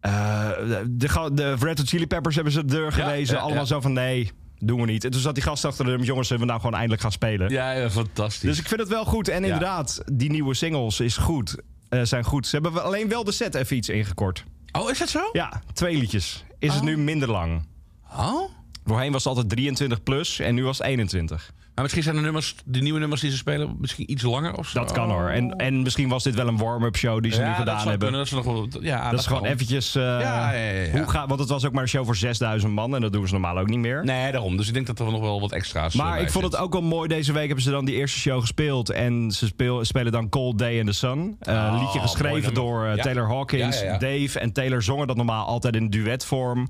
eh, de, ga- de Red Hot Chili Peppers hebben ze de deur gewezen.
ja,
Allemaal
ja.
zo van nee, doen we niet. En toen zat die gast achter de drum. Jongens, zullen we nou gewoon eindelijk gaan spelen?
Ja, ja, fantastisch.
Dus ik vind het wel goed. En inderdaad, die nieuwe singles is goed. eh, zijn goed. Ze hebben wel- alleen wel de set even iets ingekort.
Oh, is dat zo?
Ja, twee liedjes. Is het nu minder lang?
Oh?
Oh. Voorheen was het altijd 23 plus en nu was het 21.
Maar misschien zijn de, nummers, de nieuwe nummers die ze spelen misschien iets langer of zo.
Dat kan hoor. En, en misschien was dit wel een warm-up show die ze nu
Oh. Ja, dat
gedaan
zou
hebben.
kunnen. Dat ze nog wel, ja,
dat, is gewoon
kan.
eventjes... eh,
Ja, ja, ja, ja.
Hoe ga, want het was ook maar een show voor 6000 man en dat doen ze normaal ook niet meer.
Nee, daarom. Dus ik denk dat er nog wel wat extra's eh,
Maar
bij
ik vond het
zit.
ook wel mooi. Deze week hebben ze dan die eerste show gespeeld. En ze speel- spelen dan Cold Day in the Sun. Eh, Een
Oh,
liedje
mooi
geschreven
nummer.
door eh,
Ja.
Taylor Hawkins,
Ja, ja, ja.
Dave en Taylor zongen dat normaal altijd in duetvorm.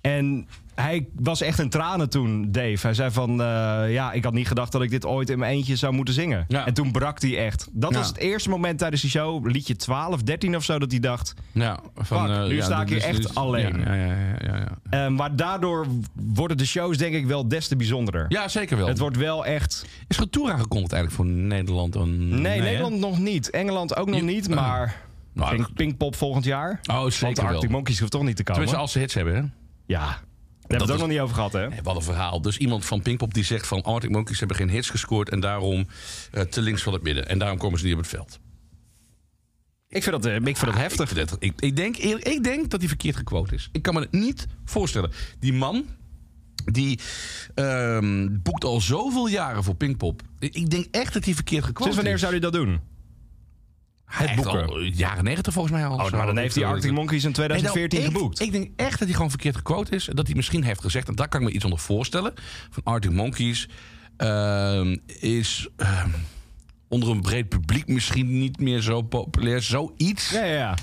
En hij was echt in tranen toen, Dave. Hij zei van, eh, ja, ik had niet gedacht dat ik dit ooit in mijn eentje zou moeten zingen.
Ja.
En toen brak hij echt. Dat
Ja.
was het eerste moment tijdens die show, liedje 12, 13 of zo, dat hij dacht...
Ja, van,
Fuck,
eh,
nu
ja,
sta
dit
ik hier
is-
echt
dit is-
alleen.
Ja, ja, ja, ja, ja.
eh, maar daardoor worden de shows denk ik wel des te bijzonderder.
ja zeker wel.
Het wordt wel echt...
Is er tour aangekondigd eigenlijk voor Nederland? en-
Nee,
hè?
Nederland nog niet. Engeland ook nog
Je-
niet,
oh.
maar
Nou,
pink,
dat-
Pinkpop volgend jaar.
Oh,
Want de
zeker wel.
Arctic Monkeys hoeft toch niet te komen?
Tenminste, als ze hits hebben, hè?
Ja, daar hebben we het ook
was-
nog niet over gehad, hè?
Hey, Wat een verhaal. Dus iemand van Pinkpop die zegt van Arctic Monkeys hebben geen hits gescoord... en daarom eh, te links van het midden. En daarom komen ze niet op het veld.
Ik vind dat, eh, ik vind dat heftig.
Ah, Ik, vind het- ik, ik, denk, eerlijk- ik denk dat hij verkeerd gequote is. Ik kan me het niet voorstellen. Die man, die ehm, boekt al zoveel jaren voor Pinkpop. Ik ik denk echt dat hij verkeerd gequote is.
Sinds wanneer zou hij dat
Oh,
doen? Nou,
hij
het boeken?
Al, eh, jaren 90 volgens mij al. of
Oh,
zo.
maar dan heeft hij
Ik-
Arctic Monkeys in
Nee, nou,
2014
ik-
geboekt.
Ik denk echt dat hij gewoon verkeerd gequote is. En dat hij misschien heeft gezegd, en daar kan ik me iets onder voorstellen... van Arctic Monkeys ehm, is... ehm, onder een breed publiek misschien niet meer zo populair. Zoiets.
Ja, ja, ja.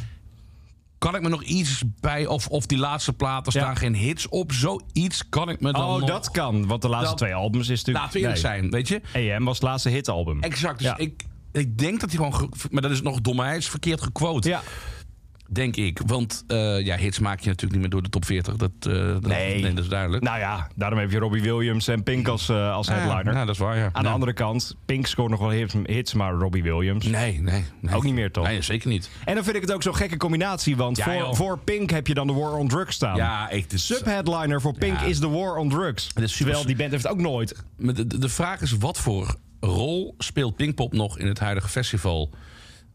Kan ik me nog iets bij, of, of die laatste platen
Ja.
staan geen hits op? Zoiets kan ik me dan
Oh,
nog...
dat kan, want de laatste
Dat-
twee albums is natuurlijk...
Laten we eerlijk zijn, weet je?
zijn. AM was het laatste hitalbum.
Exact. Dus
Ja.
ik, ik denk dat hij gewoon... ge- Maar dat is nog dom. Hij is verkeerd gequote,
Ja.
denk ik. Want eh, ja, hits maak je natuurlijk niet meer door de top 40. Dat, eh, dat-
Nee.
dat is duidelijk.
Nou ja, daarom heb je Robbie Williams en Pink als, eh, als
Ja,
headliner.
ja, dat is waar, ja.
Aan de
Ja.
andere kant, Pink scoort nog wel hits, hits, maar Robbie Williams...
Nee, nee, nee.
Ook niet meer, toch?
Nee, zeker niet.
En dan vind ik het ook zo'n gekke combinatie, want
Ja, joh.
voor, voor Pink heb je dan de War on Drugs staan.
Ja, ik... dit-
Subheadliner voor Pink
Ja.
is The War on Drugs.
is super-
Terwijl die band heeft ook nooit.
Maar de, de- de vraag is, wat voor rol speelt Pinkpop nog in het huidige festival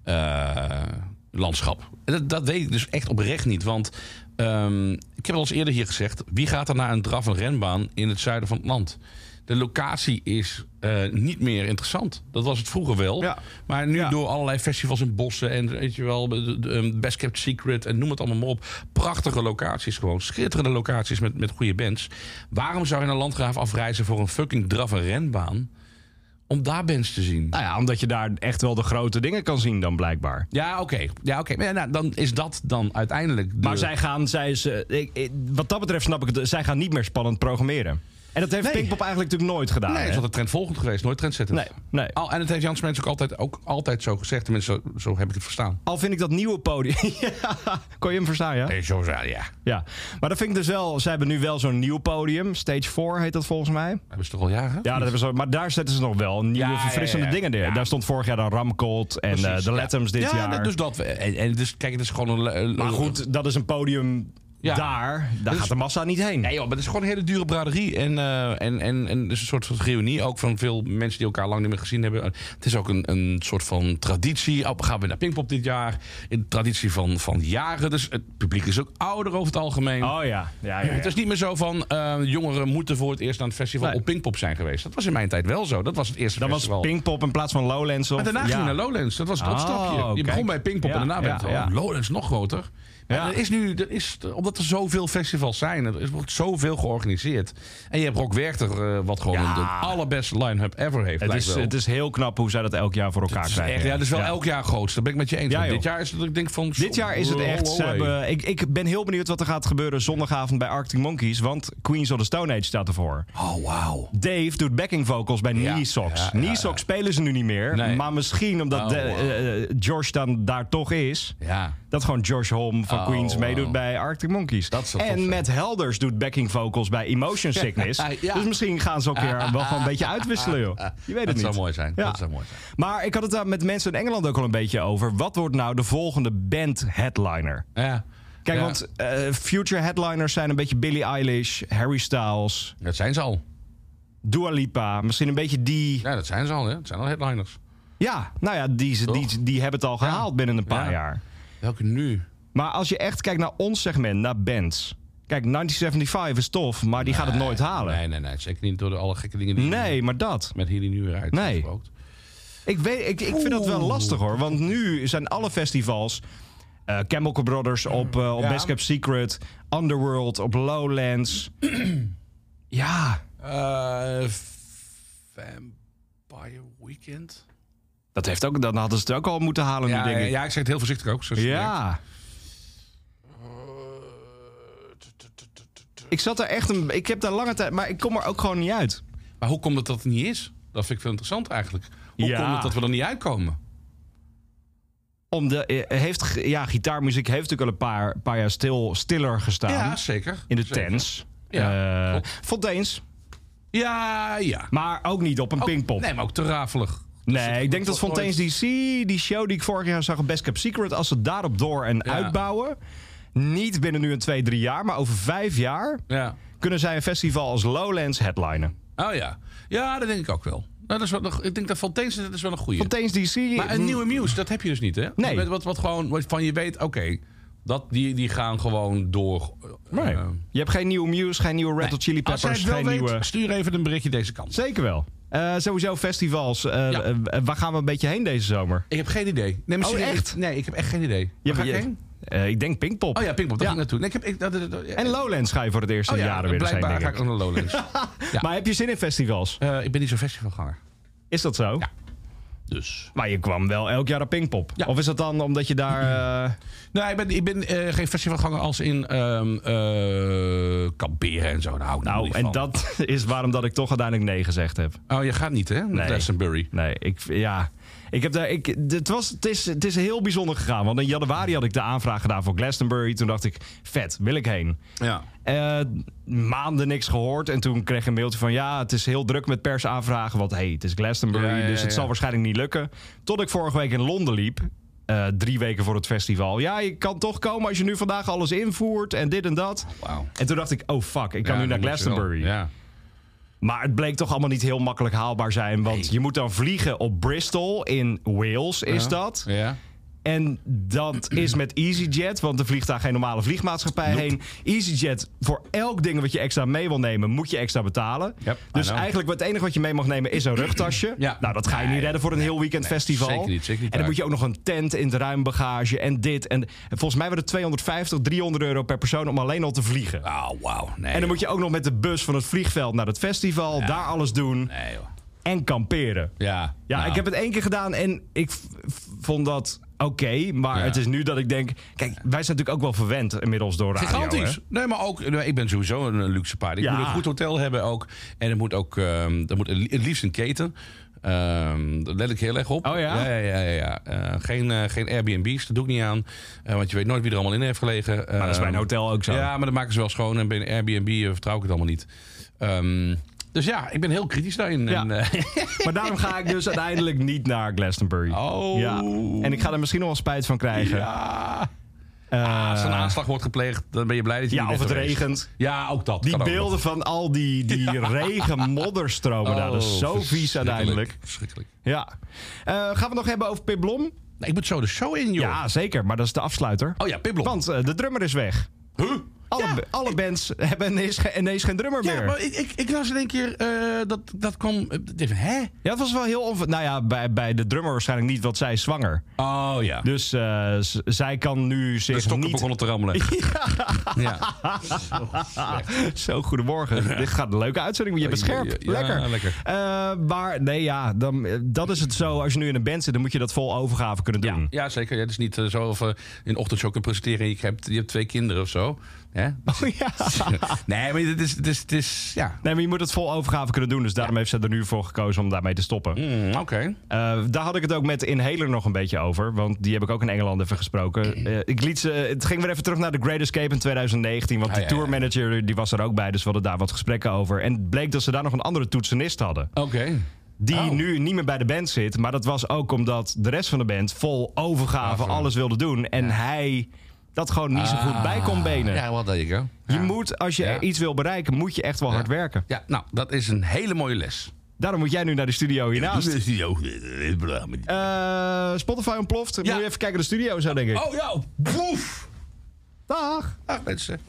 eh, landschap? En Dat, dat weet ik dus echt oprecht niet. Want ehm, ik heb het al eens eerder hier gezegd. Wie gaat er naar een draf- en renbaan in het zuiden van het land? De locatie is eh, niet meer interessant. Dat was het vroeger wel.
Ja.
Maar nu
Ja.
door allerlei festivals in bossen en weet je wel, de- de- de, um, Best Kept Secret en noem het allemaal maar op. Prachtige locaties gewoon. Schitterende locaties met, met goede bands. Waarom zou je naar Landgraaf afreizen voor een fucking draf- en renbaan? Om daar bands te zien.
Nou ja, omdat je daar echt wel de grote dingen kan zien dan blijkbaar.
Ja, oké. Ja, oké. Maar Ja, nou, dan is dat dan uiteindelijk. de-
Maar zij gaan, zij is, eh, ik, ik- wat dat betreft snap ik het, zij gaan niet meer spannend programmeren. En dat heeft Pinkpop eigenlijk natuurlijk nooit gedaan.
Nee, het
hè?
is altijd trendvolgend geweest, nooit trendzettend.
Nee, nee.
Al, en het heeft Jans Mens ook altijd, ook altijd zo gezegd. Tenminste, zo, zo heb ik het verstaan.
Al vind ik dat nieuwe podium... *laughs* Ja, kon je hem verstaan, ja?
Nee, zo zei ja.
Ja. Maar dat vind ik dus wel... Ze hebben nu wel zo'n nieuw podium. Stage 4 heet dat volgens mij.
Hebben ze toch al jaren?
Ja, dat hebben ze, maar daar zetten ze nog wel nieuwe
Ja, ja,
verfrissende
ja.
dingen neer.
Ja.
Daar stond vorig jaar dan Ramcold en
Precies,
eh, de
ja.
Latoms dit
ja,
jaar.
dat- dus dat. En, en dus, kijk, het is gewoon een.
Maar goed, dat is een podium
Ja.
daar. Daar
Dat
gaat
is-
de massa niet heen.
Nee joh, maar het is gewoon een hele dure braderie. En, eh, en, en, en het is een soort van reunie ook van veel mensen die elkaar lang niet meer gezien hebben. Het is ook een, een soort van traditie. Oh, we gaan weer naar Pinkpop dit jaar. Een traditie van, van jaren. Dus het publiek is ook ouder over het algemeen.
Oh ja. ja, ja, ja.
Het is niet meer zo van eh, jongeren moeten voor het eerst aan het festival
Nee.
op Pinkpop zijn geweest. Dat was in mijn tijd wel zo. Dat was het eerste
Dan was
festival.
Pinkpop in plaats van Lowlands. Of,
Maar daarna
ja.
ging je naar Lowlands. Dat was het
Oh,
opstapje. Je
kijk.
begon bij Pinkpop
Ja,
en daarna werd het
ja,
oh,
ja.
Lowlands nog groter.
Ja.
Maar er is nu, er is, omdat er zoveel festivals zijn, er wordt zoveel georganiseerd. En je hebt Rock Werchter, eh, wat gewoon
Ja.
de allerbeste line-up ever heeft.
Het
lijkt
is,
wel.
het is heel knap hoe zij dat elk jaar voor elkaar
Het is
krijgen.
echt- ja, dat is wel elk jaar groot. Dat ben ik met je eens.
Ja,
Want
joh.
dit jaar is het, ik denk van... oh,
Dit jaar is het echt. Ze
Roll away.
hebben, ik, ik ben heel benieuwd wat er gaat gebeuren zondagavond bij Arctic Monkeys. Want Queens of the Stone Age staat ervoor.
Oh, wauw.
Dave doet backing vocals bij
Ja,
Knee Socks.
ja, ja,
Knee Socks spelen ze nu niet meer.
Nee.
Maar misschien omdat
Oh,
de-
wow.
eh, eh, George dan daar toch is.
Ja.
Dat gewoon Josh Holm van
Oh,
Queens meedoet
wow.
bij Arctic Monkeys.
Dat zou tof
en
zijn.
Matt Helders doet backing vocals bij
*laughs*
Emotion Sickness.
Ja.
Dus misschien gaan ze elkaar wel gewoon een beetje uitwisselen, joh. Je weet het
Dat
niet.
zou mooi zijn.
Ja.
Dat zou mooi zijn.
Maar ik had het daar met mensen in Engeland ook al een beetje over. Wat wordt nou de volgende band-headliner?
Nou Ja.
Kijk,
Ja.
want eh, future headliners zijn een beetje Billie Eilish, Harry Styles,
Dat zijn ze al.
Dua Lipa. Misschien een beetje die...
Ja, dat zijn ze al. Hè. Dat zijn al headliners.
Ja, nou ja, die, die, die hebben het al gehaald binnen een paar
Ja.
jaar.
Welke nu?
Maar als je echt kijkt naar ons segment, naar bands. Kijk, 1975 is tof, maar die gaat het nooit halen. Nee,
Nee, nee, nee. Zeker niet door de alle gekke dingen die
maar dat.
met Hilly nu weer uit
Nee.
uitspookt.
Ik, weet, ik, ik vind dat wel lastig hoor. Want nu zijn alle festivals. eh Chemical Brothers op, eh op
Ja.
Best Kept Secret. Underworld op Lowlands. *clears throat* ja,
Eh, Vampire Weekend?
dat heeft ook, dan hadden ze het ook al moeten halen
Ja,
nu, denk
ja,
ik. Ja.
ja, ik zeg het heel voorzichtig ook. zoals je merkt. Eh,
Ik zat er echt een. Ik heb daar lange tijd. Maar ik kom er ook gewoon niet uit.
Maar hoe komt het dat het niet is? Dat vind ik veel interessant eigenlijk. Hoe
Ja.
komt het dat we er niet uitkomen?
Om de, eh, heeft, ge- ja, gitaarmuziek heeft natuurlijk al een paar, paar jaar stil, stiller gestaan.
Ja, zeker.
in de
Zeker.
tents.
Ja,
Ja.
klopt.
Fonteins.
Ja, ja.
Maar ook niet op een
Ook-
pingpong.
Nee, maar ook te rafelig.
Nee,
het
ik denk dat
wordt
Fontaine's DC, die show die ik vorig jaar zag op Best Kept Secret, als ze daarop door en uitbouwen, niet binnen nu een twee, drie jaar, maar over vijf jaar
Ja.
kunnen zij een festival als Lowlands headlinen.
Oh ja. Ja, dat denk ik ook wel. Nou, dat is wel nog, ik denk dat Fontaine's dat is wel een goede.
Fontaine's DC.
Maar een nieuwe muse, dat heb je dus niet, hè?
hm. Nee.
Met Wat, wat gewoon, wat van je weet, oké, dat, die, die gaan gewoon door. eh,
Nee.
eh,
Je hebt geen nieuwe Muse, geen nieuwe Red Hot Chili
Als jij het
Peppers,
wel
geen
weet,
nieuwe...
stuur even een berichtje deze kant.
Zeker wel. Eh, sowieso festivals. Eh,
Ja.
eh, waar gaan we een beetje heen deze zomer?
Ik heb geen idee. Nee, maar
Oh,
serieus,
echt?
Nee, ik heb echt geen idee.
Je
Waar ga
hebt-
ik
je-
heen?
eh, ik denk Pinkpop.
Oh ja, Pinkpop, daar
Ja.
ging ik naartoe. Nee, ik heb, ik, dat, dat, dat-
En Lowlands ga je voor het eerst
oh,
in
ja,
jaren weer eens heen,
blijkbaar
denk
ga
ik.
ik ook naar Lowlands. *laughs* Ja.
Maar heb je zin in festivals?
Eh, ik ben niet zo'n festivalganger.
Is dat zo?
Ja. Dus.
Maar je kwam wel elk jaar op Pinkpop.
Ja.
Of is dat dan omdat je daar... eh,
Nou, ik ben, ik ben eh, geen festivalganger als in ehm eh, kamperen en zo. Daar hou ik nou,
Nou,
niet
en
van.
dat *laughs* is waarom dat ik toch uiteindelijk nee gezegd heb.
Oh, je gaat niet, hè? Naar
Nee.
Glastonbury.
Nee, ik, ja. Ik heb daar, ik, d- het, was, het, is, het is heel bijzonder gegaan. Want in januari had ik de aanvraag gedaan voor Glastonbury. Toen dacht ik, vet, wil ik heen.
Ja.
Eh, maanden niks gehoord. En toen kreeg ik een mailtje van... ja, het is heel druk met persaanvragen. Want hey, het is Glastonbury,
Ja, ja,
dus het
ja.
zal waarschijnlijk niet lukken. Tot ik vorige week in Londen liep. eh, drie weken voor het festival. Ja, je kan toch komen als je nu vandaag alles invoert en dit en dat.
Wauw.
En toen dacht ik, oh fuck, ik kan
Ja,
nu naar
dan moet je wel.
Glastonbury.
Ja.
Maar het bleek toch allemaal niet heel makkelijk haalbaar zijn. Want je moet dan vliegen op Bristol in Wales, is dat.
Ja.
En dat is met EasyJet, want er vliegt daar geen normale vliegmaatschappij heen. EasyJet, voor elk ding wat je extra mee wil nemen, moet je extra betalen.
Yep, I
dus
know.
eigenlijk het enige wat je mee mag nemen is een rugtasje.
Ja.
Nou, dat ga je niet
Nee,
redden voor een heel weekend festival.
zeker niet, zeker niet
en dan
waar.
moet je ook nog een tent in het ruim bagage en dit. En en volgens mij werden het 250, 300 euro per persoon om alleen al te vliegen.
Oh, wauw. Nee,
En dan
joh.
moet je ook nog met de bus van het vliegveld naar het festival, daar alles doen
Nee, joh.
en kamperen.
Ja.
Ja,
nou.
ik heb het één keer gedaan en ik v- v- vond dat oké. maar
Ja.
het is nu dat ik denk... Kijk, wij zijn natuurlijk ook wel verwend inmiddels door radio.
Gigantisch.
hè?
nee, maar ook, nee, ik ben sowieso een eh, luxe paard. Ik
Ja.
moet een goed hotel hebben ook. En het moet ook, ehm er moet het liefst een keten. Ehm daar let ik heel erg op.
Oh ja?
Ja, ja, ja. ja, ja. Eh, geen, eh, geen Airbnb's, dat doe ik niet aan. Eh, want je weet nooit wie er allemaal in heeft gelegen.
Maar dat is bij een
Ehm,
hotel ook zo.
Ja, maar dat maken ze wel schoon. En bij een Airbnb eh, vertrouw ik het allemaal niet. Ehm, dus ja, ik ben heel kritisch daarin.
Ja.
En, eh, *laughs*
Maar daarom ga ik dus uiteindelijk niet naar Glastonbury.
oh.
Ja. En ik ga er misschien nog wel spijt van krijgen.
Ja. Ah,
Eh,
Als er een aanslag wordt gepleegd, dan ben je blij dat je
ja,
niet
of
bent
het
geweest.
regent.
Ja, ook dat.
Die
kan ook nog.
beelden van al die, die regen modderstromen daar. Dat is
Oh,
zo vies
verschrikkelijk.
uiteindelijk.
Verschrikkelijk.
Ja. Eh, gaan we het nog hebben over Pip Blom?
Nee, ik moet zo de show in, joh.
Ja, zeker. Maar dat is de afsluiter.
Oh ja, Pibblom.
Want eh, de drummer is weg.
Huh?
Alle,
ja,
alle bands hebben ineens, ge- ineens geen drummer
ja,
meer.
maar ik, ik, ik las in één keer eh, dat, dat kwam. eh, ik dacht, hè?
Ja, het was wel heel onver... Nou ja, bij, bij de drummer waarschijnlijk niet, want zij is zwanger.
Oh ja. De,
Dus eh, z- zij kan nu zich
stokken
niet...
begonnen te rammelen. *laughs* ja.
*laughs* Zo, goedemorgen. Dit gaat een leuke uitzending, want je bent
Oei, oei,
scherp.
oei. Ja,
lekker.
lekker.
Eh, maar nee, ja, dan, eh, dat is het zo. Als je nu in een band zit, dan moet je dat vol overgave kunnen doen.
Ja, zeker. Ja, het is niet eh, zo of eh, in de ochtendshow kunt presenteren en je hebt, je hebt twee kinderen of zo. Hè? *laughs*
Oh, *laughs* ja.
nee, maar het is, het is, het is ja.
Nee, maar je moet het vol overgave kunnen doen. Dus daarom heeft ze er nu voor gekozen om daarmee te stoppen.
Mm, Oké.
Eh, daar had ik het ook met Inhaler nog een beetje over. Want die heb ik ook in Engeland even gesproken. Eh, ik liet ze, het ging weer even terug naar The Great Escape in 2019. Want
Ah,
de
ja, ja.
tourmanager die was er ook bij. Dus we hadden daar wat gesprekken over. En het bleek dat ze daar nog een andere toetsenist hadden.
Oké.
Die
Oh.
nu niet meer bij de band zit. Maar dat was ook omdat de rest van de band vol overgave alles wilde doen. En hij dat gewoon niet zo goed bij kon benen.
Ah. Ja, wat denk ik hè?
Je moet, als je
Ja.
iets wil bereiken, moet je echt wel hard werken.
Ja, nou, dat is een hele mooie les.
Daarom moet jij nu naar de studio hiernaast.
Oh
Eh, Spotify ontploft.
Ja. Oh.
Moet je even kijken naar de studio zo, denk ik.
ja, boef!
Dag!
Dag mensen.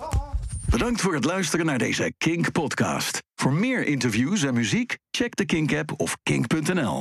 Bedankt voor het luisteren naar deze Kink podcast. Voor meer interviews en muziek, check de Kink app of kink.nl.